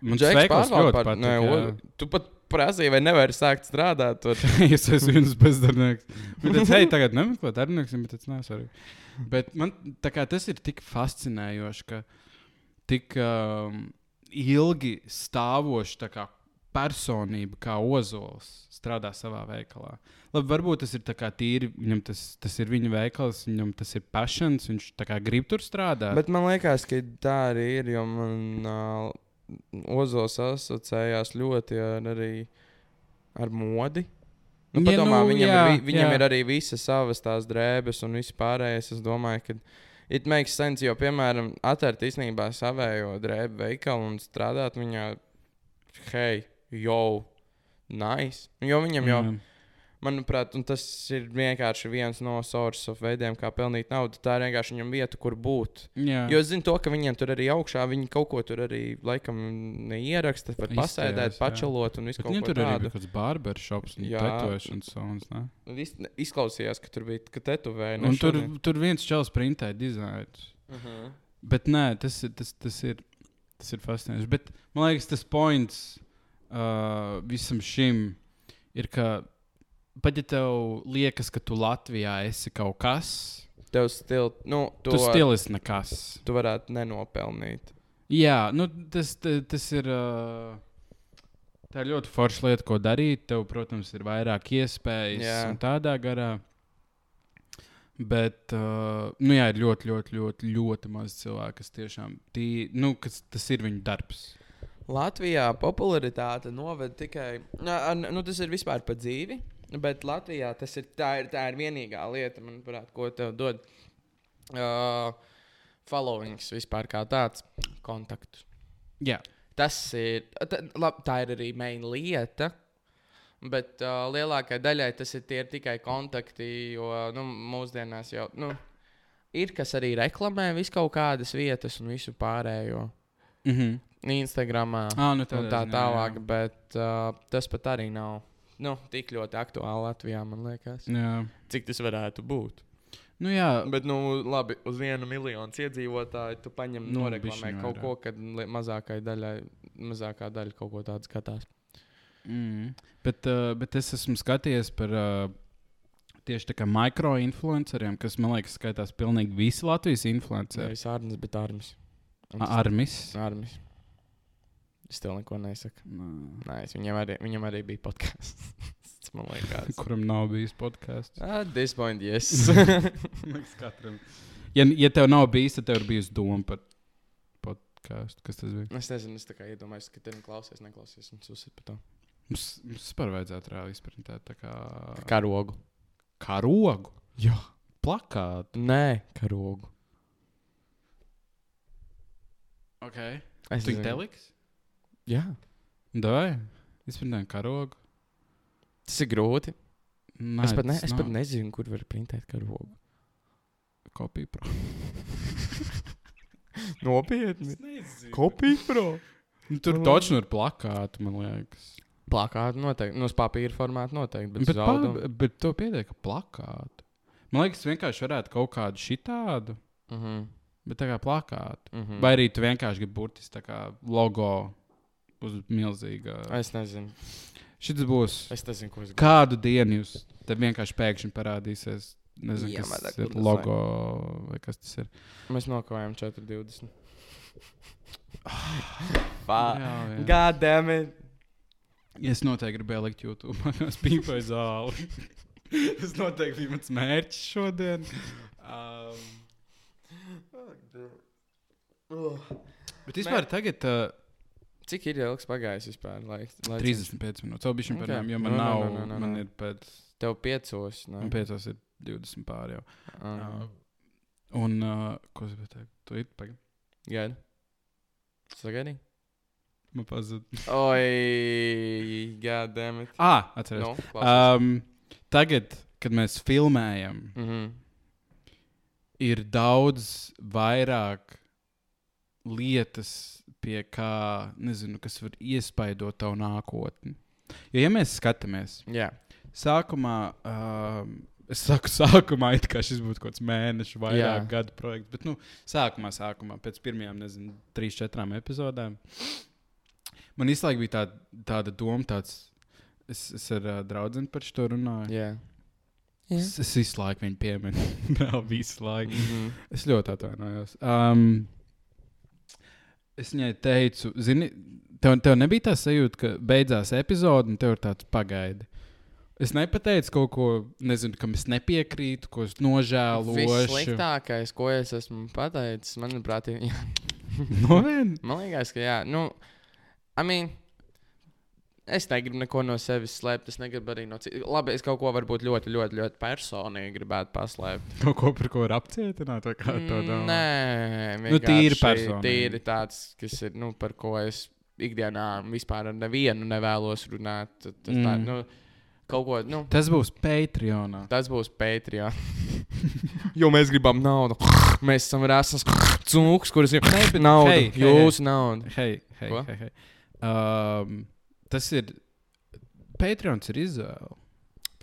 Man tas Džeks veikals pārvalda ļoti par- nē, patīk. o- Tu pat prasīji, vai nevari sākt strādāt. Tur. jā. es esmu viens bezdarbnieks. Viņš teica, hei, tagad nemeklē darbinieks, bet tas nav svarīgi. Bet man tā kā, tas ir tik fascinējoši, ka tik um, ilgi stāvoša tā kā personība, kā ozols, strādā savā veikalā. Labi, varbūt tas ir tā kā tīri, viņam tas, tas ir viņa veikals, viņam tas ir pašans, viņš tā kā grib tur strādāt. Bet man liekas, ka tā arī ir, jo man uh, Ozols asociējās ļoti ar, arī ar modi. Nu, Ja, ja, padomā, nu, nu, viņam, jā, jā, ir, vi- viņam jā. ir arī visas savas tās drēbes un viss pārējais. Es domāju, ka it makes sense, jo, piemēram, atvērt īstenībā savējo drēbu veikalu un strādāt viņā, hei, jau, nice. Jo viņam jau. Mm. Manuprāt, un tas ir vienkārši viens no source of veidiem, kā pelnīt naudu. Tā ir vienkārši viņam vieta, kur būt. Jā. Jo es zinu, to, ka viņiem tur arī augšā viņi kaut ko tur arī laikam neieraksta, bet Izstājas, pasēdēt, jā. pačalot un visu Bet kaut Viņam ko tur arī tādu. bija kaut kāds barbershops un Jā. tetovēšanas zonas. ne? Un iz- Izklausījās, ka tur bija ka tetovēja. Un tur, tur viens čels printēja dizainus. Uh -huh. Bet nē, tas, ir- tas, tas ir, tas ir fascinējoši. Bet man liekas, tas points uh, visam šim ir, ka pat ja tev liekas, ka tu Latvijā esi kaut kas, Tev stils, nu, to... to, tu stilisti nekas. tu varētu nenopelnīt. Jā, nu, tas, t- tas ir. Uh, tā ir ļoti forša lieta, ko darīt. Tev, protams, ir vairāk iespējas Jā. un tādā garā. Bet, uh, nu, jā, ir ļoti, ļoti, ļoti, ļoti maz cilvēku, kas tiešām tī, nu, kas, tas ir viņu darbs. Latvijā popularitāte noved tikai. Nā, ar- Nu, tas ir vispār par dzīvi, bet Latvijā tas ir tā, ir, tā ir vienīgā lieta, manuprāt, ko tev dod. Uh, followings vispār kā tāds - kontaktus. Jā, Tas ir. Tā, lab, tā ir arī main lieta. Bet uh, lielākajai daļai tas ir, tie ir tikai kontakti, jo nu, mūsdienās jau nu, ir kas arī reklamē visu kaut kādas vietas un visu pārējo. mm -hmm. Instagramā ah, nu, tā, tādā tā ziņā, tālāk, bet uh, tas pat arī nav nu, tik ļoti aktuāli Latvijā, man liekas. Jā. jā. Cik tas varētu būt? Nu, jā. Bet, nu, labi, uz vienu miljonu iedzīvotāju tu paņem Nu, no reklamē bišķiņ kaut vairāk. ko, kad li- mazākai daļai, mazākā daļa kaut ko tādu skatās. Mm. Bet, uh, bet es esmu skatījies par uh, tieši tādiem mikroinfluenceriem, kas man liekas, skaitās pilnīgi visi Latvijas influenceri. Nevis ārnes, bet ārnes. Armijas. Ārnes. Es tev neko nesaku. Mm. Nē, es viņam arī, viņam arī bija podkāsts. man liekas. Ah, Kuram nav bijis podkāsts? At this point, yes. Nu, ja, ja tev nav bijis, tad tev ir bijusi doma par podkāstu. Kas tas bija? es nezinu, es tā kā iedomājos, ka tev klausies, neklausies, un tas ir par to. Mums, mums vispār vajadzētu reāli izprintēt tā kā, Karogu. kā rogu. Jā. Plakātu. Nē, karogu. Okay. Es Tu viņu teliks? Jā, Davai, izprintējam karogu. tas ir grūti. Nē, Nā, es, pat ne, tas es pat nav. nezinu, kur var printēt karogu. Kopija pro. Nopietni. Kopija, bro. Nu, Tur taču ir plakāta, man liekas. Plakāta noteikti. Nu, uz papīra formāta noteikti. Bet, Bet, bet pār, pār... bet to pietiek ar plakātu. Man liekas, vienkārši varētu kaut kādu šitādu, uh -huh, bet tā kā plakātu. uh Mm. -huh. Vai arī tu vienkārši gribi burtiski tā kā logo uz milzīga. Es nezinu. Šis būs. Es nezinu, ko es gribu. Kādu dienu jūs te vienkārši pēkšņi parādīsies? Nezinu, Jā, Jā, man kas tā ir kur tas logo vai kas tas ir. Mēs nokavējam 4,20. Fā. Jā, jā. God damn it. Es noteikti gribēju likt YouTube, manās pīpai zāli. Tas noteikti bija mans mērķis šodien. Um, bet vispār tagad uh, Cik ir ilgs pagājis vispār? Lai, lai 35 minūtes. Vēl bija šim Ok. pēdējiem, jo man Nu, nu, nav, nu, nu, nu, man nu. ir pēc, Tev piecos. nē? man piecās ir 20 pāri jau. Um, Ah, Un, uh, ko es gribēju teikt? Tu ir, pagaid, Gaidi. Sagaidi. man pazud. Oi, god damn it. Ah, atceries. Nu, klausies. Um, tagad, kad mēs filmējam, Mhm. ir daudz vairāk lietas, pie kā, nezinu, kas var iespaidot tavu nākotni. Jo, ja mēs skatāmies, Jā, sākumā um, Es saku, sākumā it kā šis būtu kaut kāds mēnešu vai Jā. gadu projekts. Bet, nu, sākumā, sākumā, pēc pirmajām, nezinu, trīs, četrām epizodēm, man īstenībā bija tā, tāda doma, tāds, es, es ar uh, draugu par šo runāju. Jā. Es, es visu laiku viņu pieminu. Vēl visu laiku. Mhm. Es ļoti atvainojos. Um, es viņai teicu, zini, tev, tev nebija tā sajūta, ka beidzās epizode, un tev ir tāds pagaidi. Es nepateicu kaut ko, nezinu, kam es nepiekrītu, ko es nožēlošu. Vissliktākais, ko es esmu pateicis, manuprāt, ir. No vien? Man liekas, ka jā, nu, I mean, es negribu neko no sevis slēpt. Es negribu arī no citas. Labi, es kaut ko varbūt ļoti, ļoti, ļoti personīgi gribētu paslēpt. Kaut ko par ko ir apcietināts, vai kā to Mm, domā? Nē, Nu, tīri vienkārši personīgi. Tīri tāds, kas ir, nu, par ko es ikdienā vispār ar nevienu nevēlos runāt. Tad, tad mm. tā, Mm. nu, kaut ko, nu, Tas būs Patreonā. tas būs Patreon. jo mēs gribam naudu. mēs esam rasas cūks, kuras ir Nē, bet nauda. hei, hei, hei. Jūsu nauda. Hei, hei, Ko? hei, hei. Um, tas ir. Patreons ir izvēle.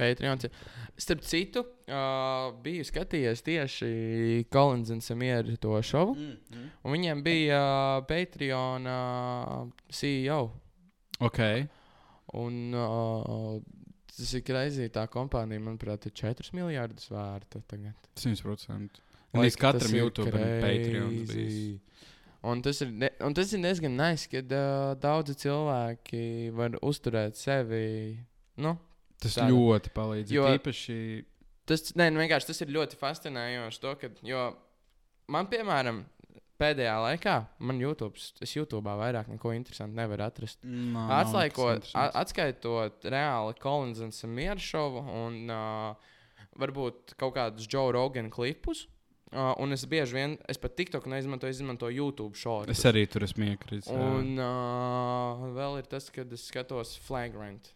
Patreons. ir- Starp citu, uh, biju skatījies tieši Kolins un Samieru to šovu. Mm -hmm. Un viņiem bija uh, Patreon uh, CEO. Ok. Un, uh, tas ir greizi. Tā kompānija, manuprāt, ir 4 miljardus vērta. Tagad. 100%. Laika, Un es tas katram ir YouTube Patreon. crazy. Un tas, ir ne, un tas ir diezgan nice, ka uh, daudzi cilvēki var uzturēt sevi. Nu, Tas Tāda. Tāda. ļoti palīdz. Jo Jo- īpaši Tas, nē, nu, vienkārši tas ir ļoti fascinējoši. To, ka, jo man, piemēram, pēdējā laikā, man YouTube, es YouTube vairāk neko interesantu nevaru atrast. nā, Atlaikot, a- atskaitot reāli Kolins un Samieru šovu un uh, varbūt kaut kādus Joe Rogan klipus. Uh, un es bieži vien, es pat TikTok neizmantoju, es izmantoju YouTube šovu. Es arī tur esmu iekritis. jā. Un uh, vēl ir tas, kad es skatos Flagrant,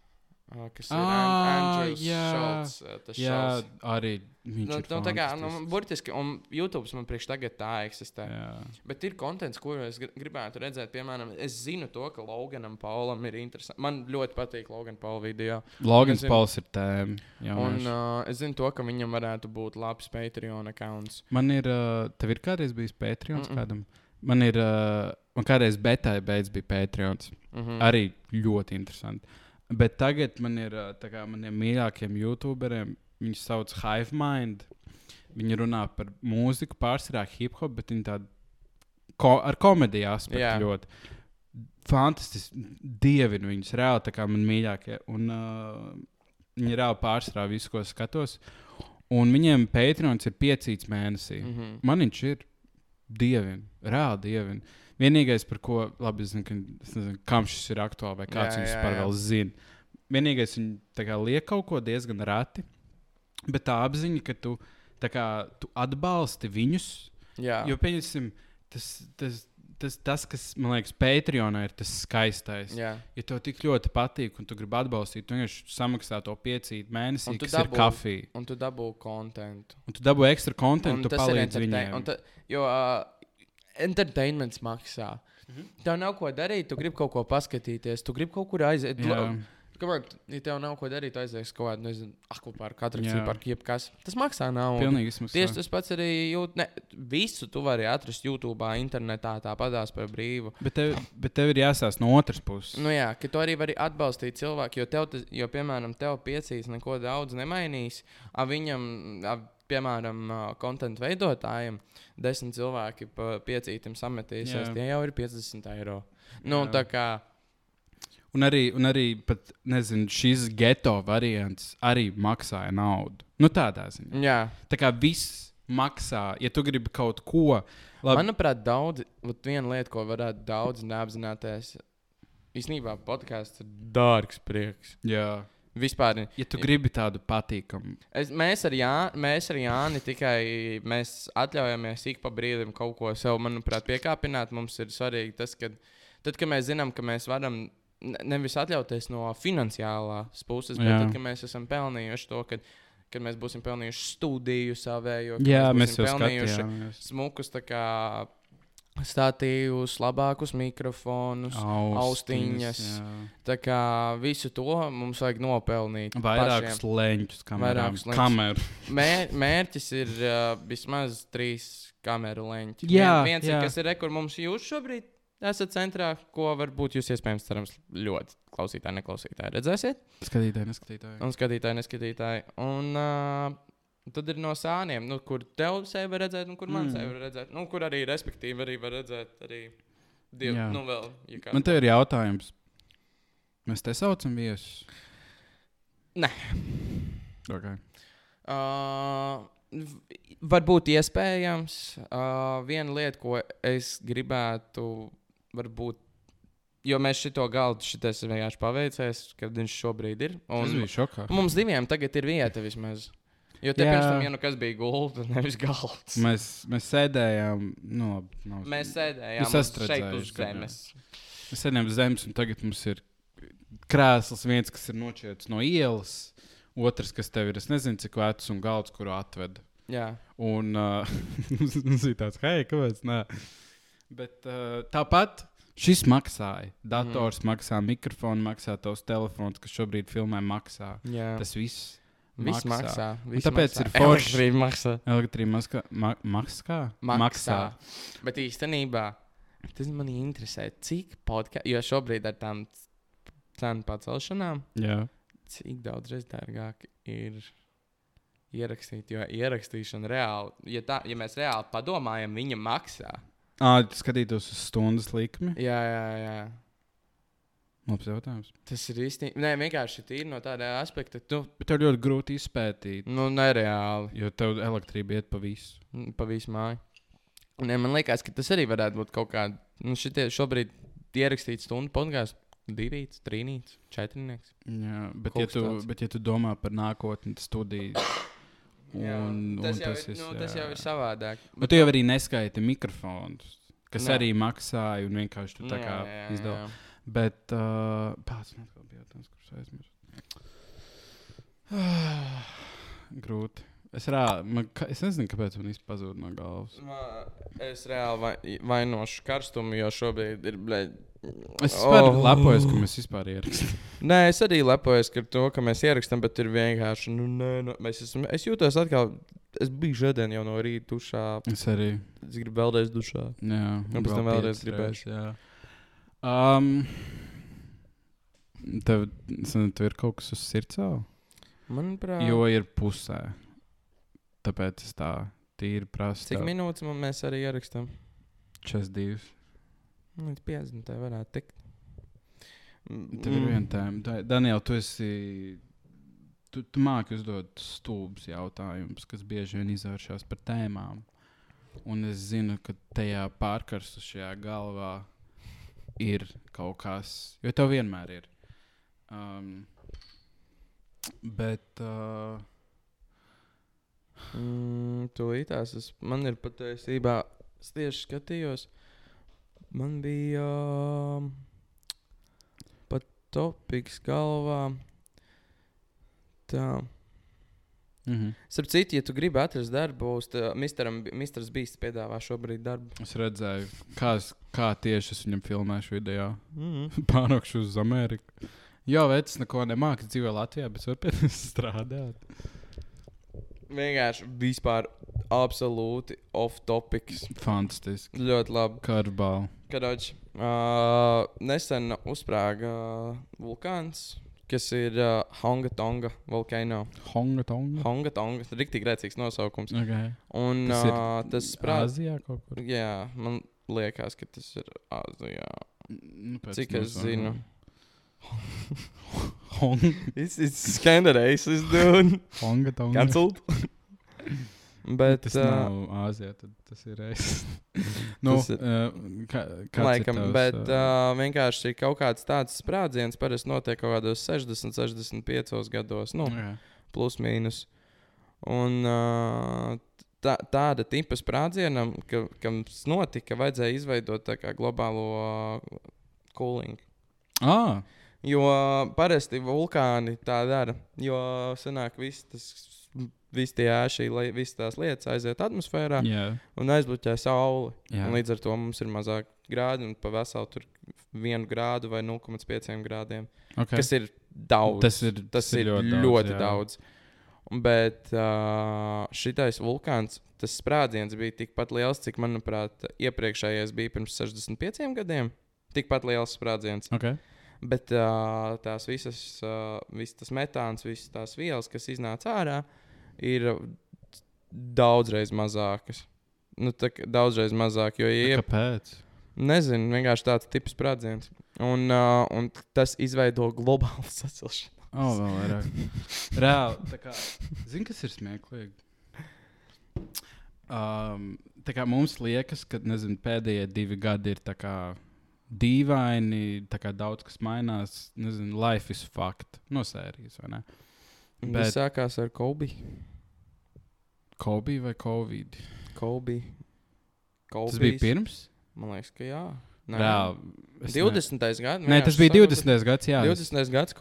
uh, kas ir Ā, An- Andrews Ah, jā. Schultz. Uh, tas Jā, Schultz arī viņš Nu, nu, nu, tā kā, nu, burtiski, un YouTube man priekš tagad tā eksistē. Jā. Jā. Bet ir konteksts, ko es gr- gribētu redzēt. Piemēram, es zinu to, ka Loganam Paulam ir interesanti. Man ļoti patīk Logan Paula video. Logans Nezinu. Pauls ir tēma. Jā, Un un, uh, es zinu to, ka viņam varētu būt labs Patreon accounts. man ir, uh, tev ir kādreiz bijis Patreons Mm, mm mm. -mm. kādam? Man ir, uh, man kādreiz betai beidz bija Patreons. Mm -hmm. Arī ļoti interesanti. Bet tagad man ir ā, tā kā maniem mīļākajiem youtuberiem, viņi sauc Hive Mind. Viņi runā par mūziku, pārsvarā hip hop, bet viņi tādu ko, ar komēdiju aspektu Jā. yeah. ļoti. Fantastiski, dievinu viņus, reāli tā kā man mīļākie. Un, uh, viņi reāli pārsvarā visu, ko skatos. Un viņiem Patreons ir piecīts mēnesī. Mm -hmm. Man viņš ir dievin, reāli dievin. Vienīgais, par ko labi es zinu, ka, es nezinu, kam šis ir aktuāls vai kāds Jā, viņu jā, vispār jā. vēl zina. Vienīgais, viņi tā kā liek kaut ko diezgan reti, bet tā apziņa, ka tu, tā kā, tu atbalsti viņus. Jā, Jo, pieņemsim, tas, tas, tas, tas, kas man liekas, Patreonā ir tas skaistais. jā. Ja tev tik ļoti patīk un tu gribi atbalstīt, tad vienkārši samaksā to piecīt Un mēnesī, tu kas dabū. dabū- ir kafija. Un tu dabū kontekstu. Un tu dabū ekstra kontekstu, tu tas ir palīdzi entertain- viņiem. un ta- Jo uh, entertainments maksā. Mhm. Tev nav ko darīt, tu gribi kaut ko paskatīties, tu gribi kaut kur aiziet. Jā. Lo- Kāpēc? Ja tev nav ko darīt, aizies kaut kādā, nezinu, aklu parka, atrakciju Jā. parka, jebkas. Tas maksā naudu. Pilnīgi izmaksā. Tieši tas pats arī jūt, ne, visu tu vari atrast YouTube, internetā, tāpatās par brīvu. Bet tev, bet tev ir jāsāsās no otras puses. Nu jā, ka tu arī vari atbalstīt cilvēku, jo, tev, tas- jo piemēram, tev piecīs neko daudz nemainīs. A viņam, a, piemēram, kontekstu veidotājiem, desmit cilvēki pa piecītam sametīsies, Jā. tie jau ir 50 eiro. Nu, Jā. tā kā, Un arī, un arī pat, nezinu, šis geto variants arī maksāja naudu. Nu, tādā ziņā. jā. Tā kā viss maksā, ja tu gribi kaut ko. Labi, Man... Manuprāt, daudz, vat viena lieta, ko varētu daudz neapzināties, īstenībā podkāsts ir dārgs prieks. jā, Vispār. ja tu gribi tādu patīkamu, Es, mēs, ar Jā, mēs ar Jāni tikai mēs atļaujamies ik pa brīdim kaut ko sev, manuprāt, piekāpināt. Mums ir svarīgi tas, ka tad, kad mēs zinām, ka mēs varam ne- nevis atļauties no finansiālās puses, bet Jā. tad, kad mēs esam pelnījuši to, kad, kad mēs būsim pelnījuši studiju savējo, kad jā, būsim mēs jau pelnījuši skatījāmies. smukus tā kā, statīvus, labākus mikrofonus. Austiņas, jā. Tā kā visu to mums vajag nopelnīt. Vairākus pašiem. leņķus, kamerām. Vairākus leņķus. Kameru. Mēr, mērķis ir uh, vismaz trīs kameru leņķi. Jā, Vien- viens jā. ir kas ir rekur mums jūs šobrīd. Esat centrā, ko varbūt jūs iespējams cerams ļoti klausītāji, neklausītāji redzēsiet. Skatītāji, neskatītāji. Un skatītāji, neskatītāji. Un uh, tad ir no sāniem, nu, kur tev sevi var redzēt, un kur man Mm. mm. sevi var redzēt. Nu, kur arī, respektīvi, arī var redzēt, arī divi. Jā. Nu, vēl, ja kā. Man te ir jautājums. Mēs te saucam viesus. Nē. Okay. Uh, v- varbūt iespējams. Uh, viena lieta, ko es gribētu, varbūt, jo mēs šito galdu šitais ir vienkārši paveicies, kad viņš šobrīd ir. Un... Tas Un bija šokā. mums diviem tagad ir vieta vismaz. Jo te Jā. pirms tam, ja nu kas bija gulta, nevis galds. Mēs, mēs sēdējām, nu, labi, nav, Mēs Nu, sēdējām uz- šeit sastredzējuši, uz kad, jā. zemes. mēs sēdējām uz zemes, un tagad mums ir krēsls, viens, kas ir nošķērts no ielas, otrs, kas tev ir, es nezinu, cik vecs un galds, kuru atved. Jā, Un uh, mums mums ir tāds, hei, kāpēc? Nē. Bet uh, tāpat šis maksāja. Dators Mhm. mm. maksā, mikrofons maksā, tavs telefons, kas šobrīd filmē, maksā. jā. Tas viss. viss maksā. maksā. Viss tāpēc maksā. ir forši- Elektrība maksā. Elektrība maksā. Ma maksā? maksā. Bet īstenībā tas man interesē, cik podkāstu, jo šobrīd ar tām cenu pacelšanām, Jā. cik daudz reiz dārgāk ir ierakstīt. Jo ierakstīšana reāli, ja, tā, ja mēs reāli padomājam, viņa maksā. Ah, skatītos uz stundas likmi. Jā, jā, jā. Labs jautājums. Tas ir īstenībā. Nē, vienkārši tīri no tāda aspekta, ka tu Bet tev ļoti grūti izpētīt, nu, nereāli. jo tev elektrība iet pa visu. Mm, pa visu māju. Nē, man liekas, ka tas arī varētu būt kaut kāda. Nu, šitie šobrīd ierakstīt stundu podkāstu. Divīts, trīnīts, četrnieks. Jā, bet, Kaut ja kas tu, tāds. bet ja tu domā par nākotni, studiju, Jā, un, tas, un jau, tas, ir, ir, nu, tas jā. jau ir savādāk. Bet tu jau arī neskaiti mikrofonus, kas Jā. jā. arī maksāja un vienkārši tu tā kā izdevā. Bet uh, pats man atkal bija jautājums, kurš aizmirst. Ah, Grūti. Es, rā, man, ka- es nezinu, kāpēc man īsti pazuda no galvas. Ma- Es reāli vai- vainošu karstumu, jo šobrīd ir. Ble... Es vispār oh. lepojos, ka mēs vispār ierakstām. Nē, es arī lepojos ar to, ka mēs ierakstām, bet ir vienkārši. Nu, nē, nu, mēs esam. Es jūtos atkal. Es biju šodien jau no rīta dušā. Es arī. Es gribu vēlreiz dušā. Jā, Un pēc tam vēlreiz gribēšu. gribēju. Um, tev, zinu, tev ir kaut kas uz sirds, jau? Manuprāt, jo ir pusē. Tāpēc es tā tīri prasu. cik minūtes man- mēs arī ierakstām? 42. Nu, Līdz 50. varētu tikt. Tev mm. ir viena tēma. Da- Daniel, tu esi. Tu, tu māki uzdot stulbus jautājumus, kas bieži vien izvēršas par tēmām. Un es zinu, ka tajā pārkarstušajā galvā ir kaut kas, jo tev vienmēr ir. Um, bet. Uh, Mm, Tūlīt tās es, man ir patiesībā, es tieši skatījos, man bija um, pat topiks galvā. Tā. mm -hmm. Starp citu, ja tu gribi atrast darbu, tad Mistrs Bīsts piedāvā šobrīd darbu. Es redzēju, kā, es, kā tieši es viņam filmēšu video. Mm. Mhm. Pārnākšu uz Ameriku. Jā, vecs, neko nemāks dzīvo Latvijā, bet var pēc tam strādāt. Vienkārši vispār absolūti off topics. Fantastiski. Ļoti labi. Karbāli. Karoč, uh, nesen uzsprāga uh, vulkāns, kas ir uh, Hongatonga vulkāno. Honga Tonga. Hongatonga, tas ir rīktīgi grēcīgs nosaukums. Okay. Un Tas tas, ir uh, tas sprādz. Azijā kaut kur. Jā, man liekas, ka tas ir Āzijā. Nu, pēc Cik es nosaukumiem. zinu. Hong, It's, it's kind of racist, dude. Honga Tonga. Cancelled. Bet Tas uh, nav Āzijā, tad tas ir reizes. nu, Tas ir- uh, kā, kāds Laikam, ir tavs, bet uh, uh, vienkārši ir kaut kāds tāds sprādziens, parasti notiek kaut kādos 60, 65 gados. Nu, jā. plus mīnus. Un ā, tā, tāda tipa sprādzienam, ka, kam tas notika, vajadzēja izveidot tā kā globālo kūlingu. Ah, Jo parasti vulkāni tā dara, jo senāk viss tas visi tie ēši, lai visas tās lietas aiziet atmosfērā Jā. un aizbloķē sauli. Jā. Un līdz ar to mums ir mazāk grādu un pa veselu tur vienu grādu vai 0,5 grādiem. Okay. Okay. Kas ir daudz. tas ir, Tas ir ļoti, ļoti daudz. Un Bet uh, šitais vulkāns, tas sprādziens bija tikpat liels, cik, manuprāt, iepriekšējais bija pirms 65 gadiem. Tikpat liels sprādziens. Okay. Bet uh, tās visas, uh, visas tas metāns, visas tās vielas, kas iznāca ārā, ir daudzreiz mazākas. Nu, tā kā daudzreiz mazāk, jo ja ie, Jeb... Kāpēc? Nezinu, vienkārši tāds tips sprādziens. Un, uh, un tas izveido globālu sasilšanu. Oh, vēl vairāk. Reāli. tā kā- Zini, kas ir smieklīgi? Um, tā kā mums liekas, ka nezinu, pēdējie divi gadi ir tā kā dīvaini, tā kā daudz kas mainās. Nezinu, life is fucked. No sērijas, vai ne? Bet... Bet- Tas sākās ar Kobe. Kobe vai Covid? Kobe. Kobe. Tas bija pirms? Man liekas, ka jā. Reāli. es ne- 20. gads. Nē, tas bija 20. gads, jā. 20. gads.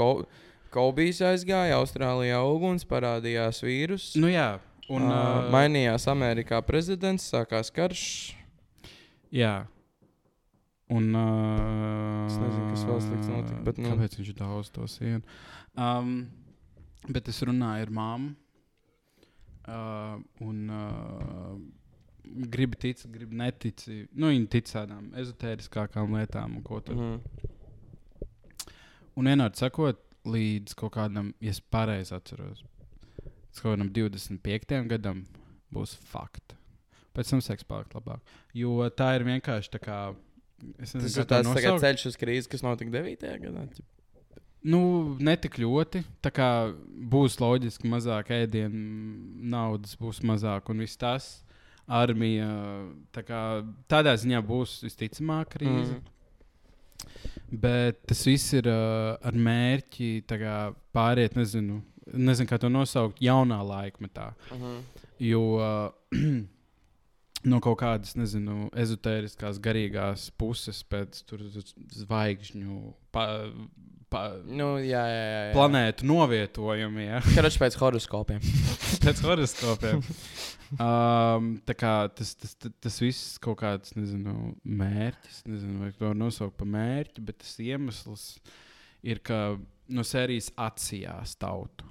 Kobijs aizgāja, Austrālijā uguns, parādījās vīrus. Nu jā. Un, Un, uh, mainījās Amerikā prezidents, sākās karš. Jā. Un, uh, Es nezinu, kas vēl slikts notika, bet, nu- Kāpēc viņš daudz to sienu? Um, bet es runāju ar māmu. Uh, un uh, gribi ticēt, gribi neticēt. Nu, viņa tic tādām ezotēriskākām lietām, un ko tur. Mm. Un vienādi sakot, līdz kaut kādam, ja es pareizi atceros, līdz kaut kādam 25 gadam būs fakti. Pēc tam seks palikt labāk. Jo tā ir vienkārši tā kā. Es nezinu, Tas kā ir to tāds tā kā nosaukt. ceļš uz krīzi, kas notika 9. gadā. ķip. Nu, ne tik ļoti. Tā kā būs loģiski mazāk ēdienu, naudas būs mazāk un viss tas. Armija. Tā kā, tādā ziņā būs visticamāk krīze. Mm. Bet tas viss ir uh, ar mērķi tā kā pāriet, nezinu, nezinu, kā to nosaukt, jaunā laikmetā. Mhm. Jo uh, no kaut kādas, nezinu, ezotēriskās, garīgās puses, pēc tur z- zvaigžņu, pa, pa, Nu, jā, jā, jā. jā. planētu novietojumiem. Karačs pēc horoskopiem. pēc horoskopiem. um, tā kā tas, tas, tas, tas viss kaut kāds, nezinu, mērķis, nezinu, vai to nosaukt par mērķi, bet tas iemesls ir, ka no sērijas acīs tautu.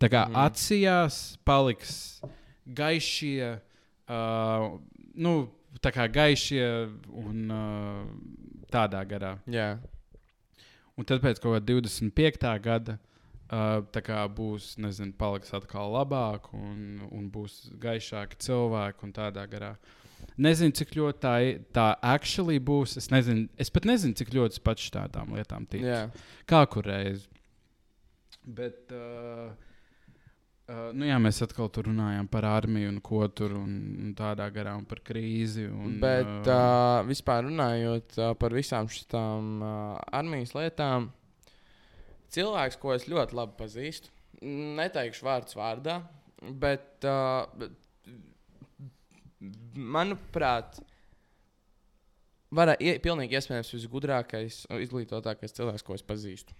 Tā kā Mhm. mm. acīs paliks gaišie, uh, nu, tā kā gaišie un uh, tādā garā. Jā. Un tad pēc kaut kā 25. gada uh, tā kā būs, nezinu, paliks atkal labāk un, un būs gaišāki cilvēki un tādā garā. Nezinu, cik ļoti tā, i- tā actually būs. Es, nezinu, es pat nezinu, cik ļoti es pats tādām lietām ticu. jā. Kā kurreiz. Bet, uh, uh, nu jā, mēs atkal tur runājām par armiju un ko tur un, un tādā garā un par krīzi. Un, Bet uh, vispār runājot uh, par visām šīm uh, armijas lietām, cilvēks, ko es ļoti labi pazīstu, neteikšu vārdus vārdā, bet, uh, bet manuprāt, Varā, ie, pilnīgi iespējams visgudrākais, izglītotākais cilvēks, ko es pazīstu.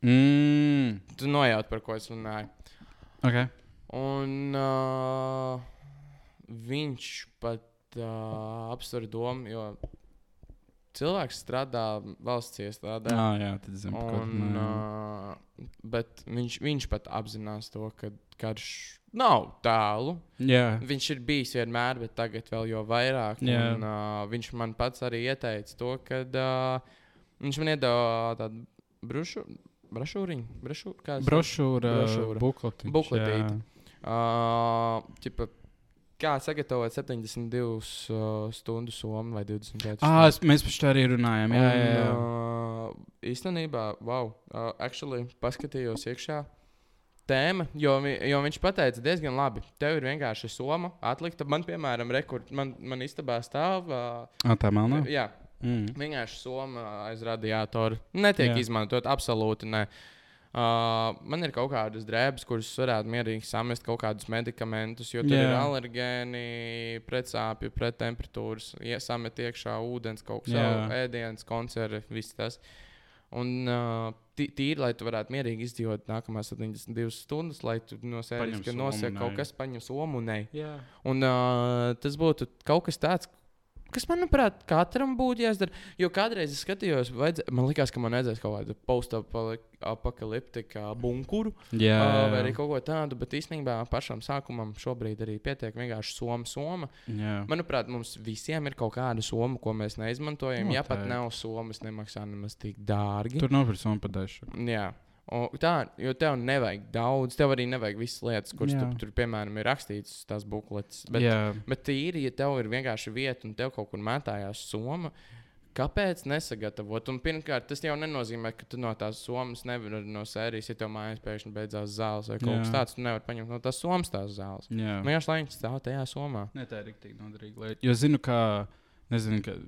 mm, Tu nojaut, par ko es runāju. okay. Un uh, viņš pat uh, apsver domu, jo cilvēks strādā valsts iestādē. ah, jā, tad zinu, par ko tu Un, runāji. uh, bet viņš, viņš pat apzinās to, ka karš nav tālu. Jā, Viņš ir bijis vienmēr, bet tagad vēl jo vairāk. Jā. Un, uh, viņš man pats arī ieteica to, ka uh, viņš man iedeva tādu brušu, brošūriņu, brošu, kā sauc? brošūra, Brošūra. bukletiņš, Bukletīte. jā. Ā, ķipa, Kā sagatavot 72 uh, stundu somu vai 24 Ā, es, mēs par to arī runājām. Jā, jā, jā. Un, uh, īstenībā, wow, uh, actually, paskatījos iekšā tēma, jo, vi- jo viņš teica, diezgan labi, tev ir vienkārši soma atlikta. Man, piemēram, rekur, man, man istabā stāv, uh, Ā, tā melnā. jā, Mm. vienkārši soma aiz radiatora. Netiek Jā. izmantot absolūti. Ne. Uh, man ir kaut kādas drēbes, kuras varētu mierīgi samest kaut kādus medikamentus, jo tur Jā. ir alergēni, pretsāpju, prettemperatūras, iesamet iekšā ūdens, kaut Jā. kāda ēdienas, koncerti, viss tas. Un uh, tī- tīri, lai tu varētu mierīgi izdzīvot nākamās 72 stundas, lai tu no Paņem sērijas, ka somu nosaka un kaut ej. kas, paņem somu un ej. Jā. Un uh, tas būtu kaut kas tāds, kas, manuprāt, katram būtu jāizdara. Jo kādreiz es skatījos, vajadz... man liekas, ka man vajadzēs kaut kādu postapokaliptiku bunkuru Jā. uh, vai arī kaut ko tādu, bet īstenībā pašam sākumam šobrīd arī pietiek vienkārši soma. soma. jā. Manuprāt, mums visiem ir kaut kāda soma, ko mēs neizmantojam. Ja pat Noteikti. nav somas, nemaksā nemaz tik dārgi. Tur nav par somu padēšanu. Jā. O, tā, jo tev nevajag daudz, tev arī nevajag visas lietas, kuras Jā. tu, tur, piemēram, ir rakstītas, tās bukletes. Bet, jā. bet tīri, ja tev ir vienkārši vieta un tev kaut kur mētājās soma, kāpēc nesagatavot? Un pirmkārt, tas jau nenozīmē, ka tu no tās somas nevari no sērijas, ja tev mājās pēkšņi beidzās zāles vai kaut Jā. kas tāds, tu nevari paņemt no tās somas tās zāles. jā. Man jāsaka, lai viņš stāv tajā somā. Nē, tā ir rīktīgi noderīga lieta. Jo zinu, ka, nezinu, ka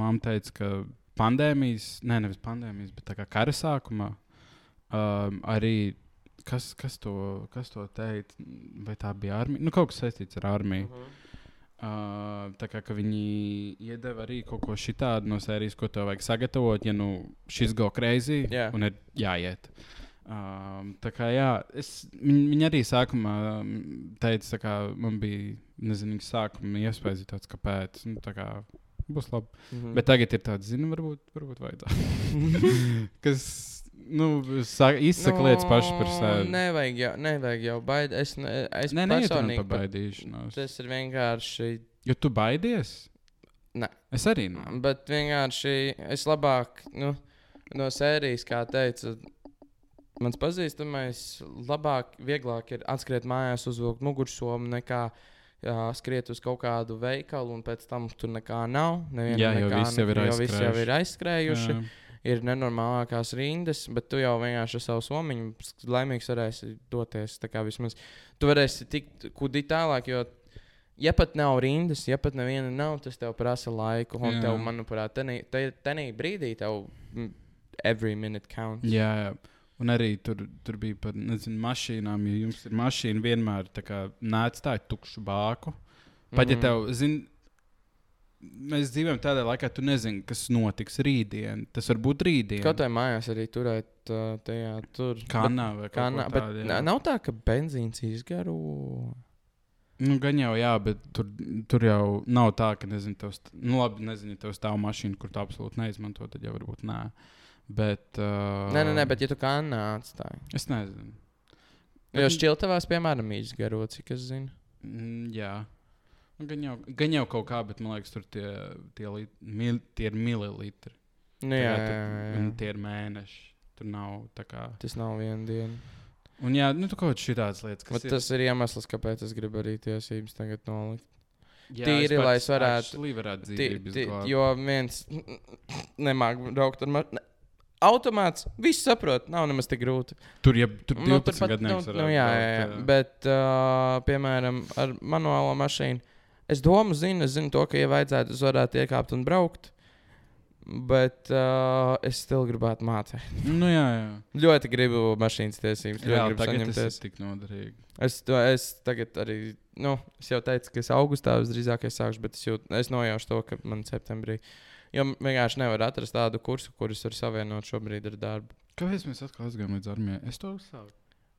māte teica, ka pandēmijas, nē, nevis pandēmijas, bet tā kā kara sākumā um, arī. Kas, kas, to, kas to teica? Vai tā bija armija? Nu, kaut kas saistīts ar armiju. Uh -huh. uh, tā kā ka viņi iedeva arī kaut ko tādu no sērijas, ko tev vajag sagatavot, ja nu šis go crazy Jā. un ir jāiet. Um, tā kā jā, es, viņ, viņa arī sākumā um, teica, tā kā man bija nezinīgs sākuma iespējas, tāds, kāpēc. Nu, tā kā būs labi. Mm. Bet tagad ir tāds, zinu, varbūt, varbūt vajadzētu. Kas nu, sā, izsaka Nu, no, lietas pašas par sevi. Nevajag jau, nevajag jau baidīties. Es, ne, es Nē, nē, personīgi tā pat- baidīšanās. Tas ir vienkārši Jo tu baidies? Nē. Es arī nē. Bet vienkārši es labāk nu, no sērijas, kā teica mans pazīstamais, labāk, vieglāk ir atskriet mājās, uzvilkt mugursomu nekā jā, skriet uz kaut kādu veikalu un pēc tam tur nekā nav. Neviena, Jā, jo nekā, visi jau ir jo visi jau aizskrējuši. ir aizskrējuši. Jā. Ir nenormālākās rindas, bet tu jau vienkārši ar savu somiņu ps- laimīgs varēsi doties. tā kā Vismaz tu varēsi tikt kudīt tālāk, jo ja pat nav rindas, ja pat neviena nav, tas tev prasa laiku. Un Jā. tev, manuprāt, tajā brīdī tev mm, every minute counts. Jā, jā. Un arī tur, tur bija par nezinu, mašīnām. Ja jums ir mašīna, vienmēr tā kā neatstāja tukšu bāku. Pat Mhm. ja tev, zini, mēs dzīvojam tādā laikā, tu nezini, kas notiks rītdien. Tas var būt rītdien. Kaut kā mājās arī turēt uh, tajā tur. Bet- kanā vai Kā kaut na, kā bet tādā. na- nav tā, ka benzīns izgaro. Nu, gan jau, jā, bet tur, tur jau nav tā, ka, nezinu, tev, st- nu, labi, nezinu, ja tev stāv mašīna, kur tu absolūti neizmanto, tad jau varbūt nē. Bet. Uh, Nē, nē, nē, bet ja tu kā nācāji. Es nezinu. Jo šķiltavās, piemēram, izgaro, cik es zinu. Mm, jā. Nu, Gan jau, gan jau kaut kā, bet man liekas, tur tie, tie, li, mil, tie ir mililitri. Nu, jā, tā, jā, jā, Un jā. tie ir mēneši. Tur nav tā kā. Tas nav viena diena. Un jā, nu, tur kaut kādas šādas lietas, Bet kas tas ir iemesls, kāpēc es gribu arī tiesības tagad nolikt. ir jā, tīri, lai es varētu- Arī varētu Ti- dzīvot. ti- Jo viens nemāķi braukt ar mašīnu. Automāts, viss saprot, nav nemaz tik grūti. Tur jau tur 12 turpat, gadu nu, nevis nu, jā, jā, jā. Bet, uh, piemēram, ar manuālo mašīnu, es domu zinu, es zinu to, ka, ja vajadzētu, es varētu iekāpt un braukt. Bet uh, es joprojām gribētu mācīt. Nu, jā, jā. Ļoti gribu mašīnas tiesības. jā Ļoti gribu tagad saņemt. tas Es... ir tik noderīgi. Es, to, es tagad arī, nu, es jau teicu, ka es augustā visdrīzāk es sākšu, bet es, jūt, es nojaušu to, ka man septembrī. Jo m- vienkārši nevar atrast tādu kursu, kurus var savienot šobrīd ar darbu. Kāpēc mēs atkal aizgājām līdz armijai? Es to uzsāku.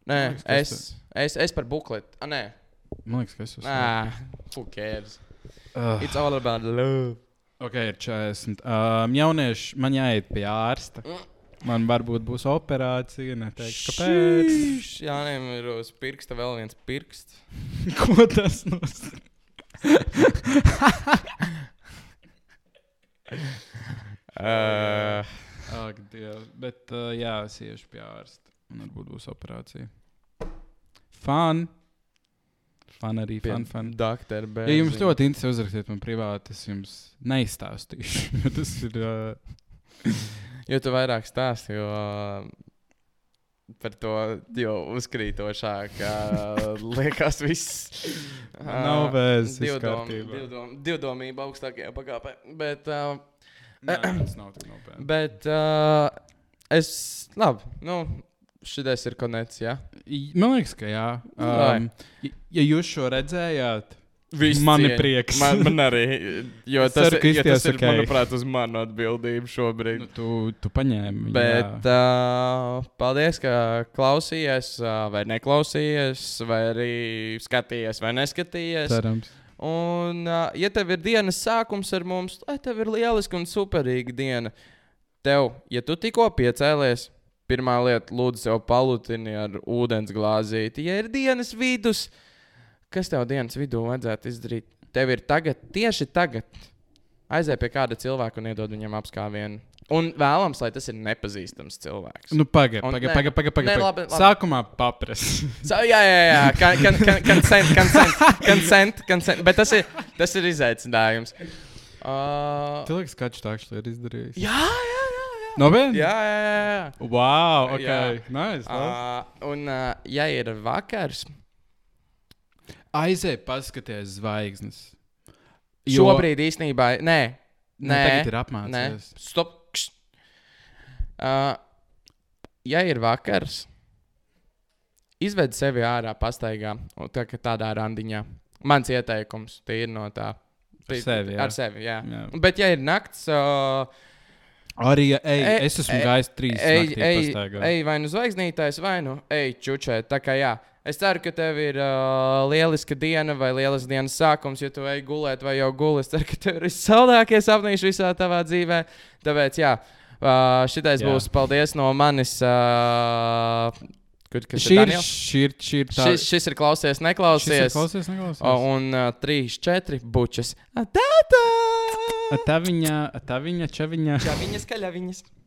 Nē, Man liekas, ka es, Nu, es es, es par bukletu. Ah, nē, Man liekas, ka es uzsāku. nē, who cares? Ah. It's all about love. Ok, ir 40. Um, jaunieši, man jāiet pie ārsta. Man varbūt būs operācija. Neteikšu, kāpēc? Šīš, Jā, nē, ir uz pirksta vēl viens pirksts. Ko tas nozīmē? Uh, Ak, Dievs. Bet uh, jā, es iešu pie ārsta. Un varbūt būs operācija. Fan. Fan arī. Fan, fan. Doktor, bet. Ja jums ļoti interesē, uzrakstiet man privāti, es jums neizstāstīšu. jo tas ir. Uh, Jo tu vairāk stāsti, jo ā, par to jau uzkrītošāk ā, liekas viss. Nav vēzis, viss Divdom- kārtībā. divdom- Divdomība augstākajā pakāpē. Bet, ā, nē, tas nav tik nopietni. bet ā, es. Labi, nu, šitais ir konec. Ja? I- Man liekas, ka jā. Vai. Um, ja- ja jūs šo redzējāt, Viss Man ir cieņa. prieks. Man, man arī. Jo Es tas, ceru, ceru, ka jo tas izties ir, ok. okay. manuprāt, uz manu atbildību šobrīd. Nu, tu, tu paņēmi. viņu, Bet jā. uh, paldies, ka klausījies, uh, vai neklausījies, vai arī skatījies, vai neskatījies. cerams. Un, uh, ja tev ir dienas sākums ar mums, lai tev ir lieliska un superīga diena, tev, ja tu tikko piecēlies, pirmā lieta, lūdzu, sev palutini ar ūdens glāzīti. Ja ir dienas vidus, kas tev dienas vidū vajadzētu izdarīt, tev ir tagad, tieši tagad, aizēj pie kāda cilvēka un iedod viņam apskāvienu. Un vēlams, lai tas ir nepazīstams cilvēks. Nu, pagaidi, Un pagaidi, nē, pagaidi. Paga, paga, nē, paga. labi, labi. Sākumā paprasti. So, jā, jā, jā. Con- con- con- Consent, consent, consent, consent. Bet tas ir, tas ir izaicinājums. Uh, Tu liekas, ka viņš tā kā ir izdarījis. jā, jā, jā. jā. Nopietni? Jā, jā, jā. jā. Wow, ok. Jā. Nice, uh, Uh, un, uh, ja ir vakars, Aizej, paskaties zvaigznes. jo... šobrīd īstenībā, nē, Nē, nē, Nu, tagad ir nē, apmācījies. stop. kšt. Uh, ja ir vakars, izved sevi ārā, pastaigā, un tā, kā tādā randiņā. Mans ieteikums tie ir no tā. Ar Tī- sevi, jā. Ar sevi, jā. Jā. Bet, ja ir naktis, uh, Arī, ja, ej, Ej, es esmu ej, gājis trīs e- ej, ej, reizes. ej vai nu zvaigznītājs, vai nu ej čučē. Tā kā jā, es ceru, ka tev ir uh, lieliska diena vai lielisks dienas sākums, ja tu ej gulēt vai jau gulēt. Es ceru, ka tev ir saldākie sapnīši visā tavā dzīvē. Tāpēc jā, uh, šitais Jā. jā. būs paldies no manis. Uh, kur, kas Šī ir ir, Daniels? šī ir, šī ir tā. Šis, šis ir klausies, šis ir neklausies. klausies, neklausies. O, Un uh, 3, 4 bučas. Tātā! Tā viņa, tā viņa, čaviņa. Čaviņas, kaļaviņas.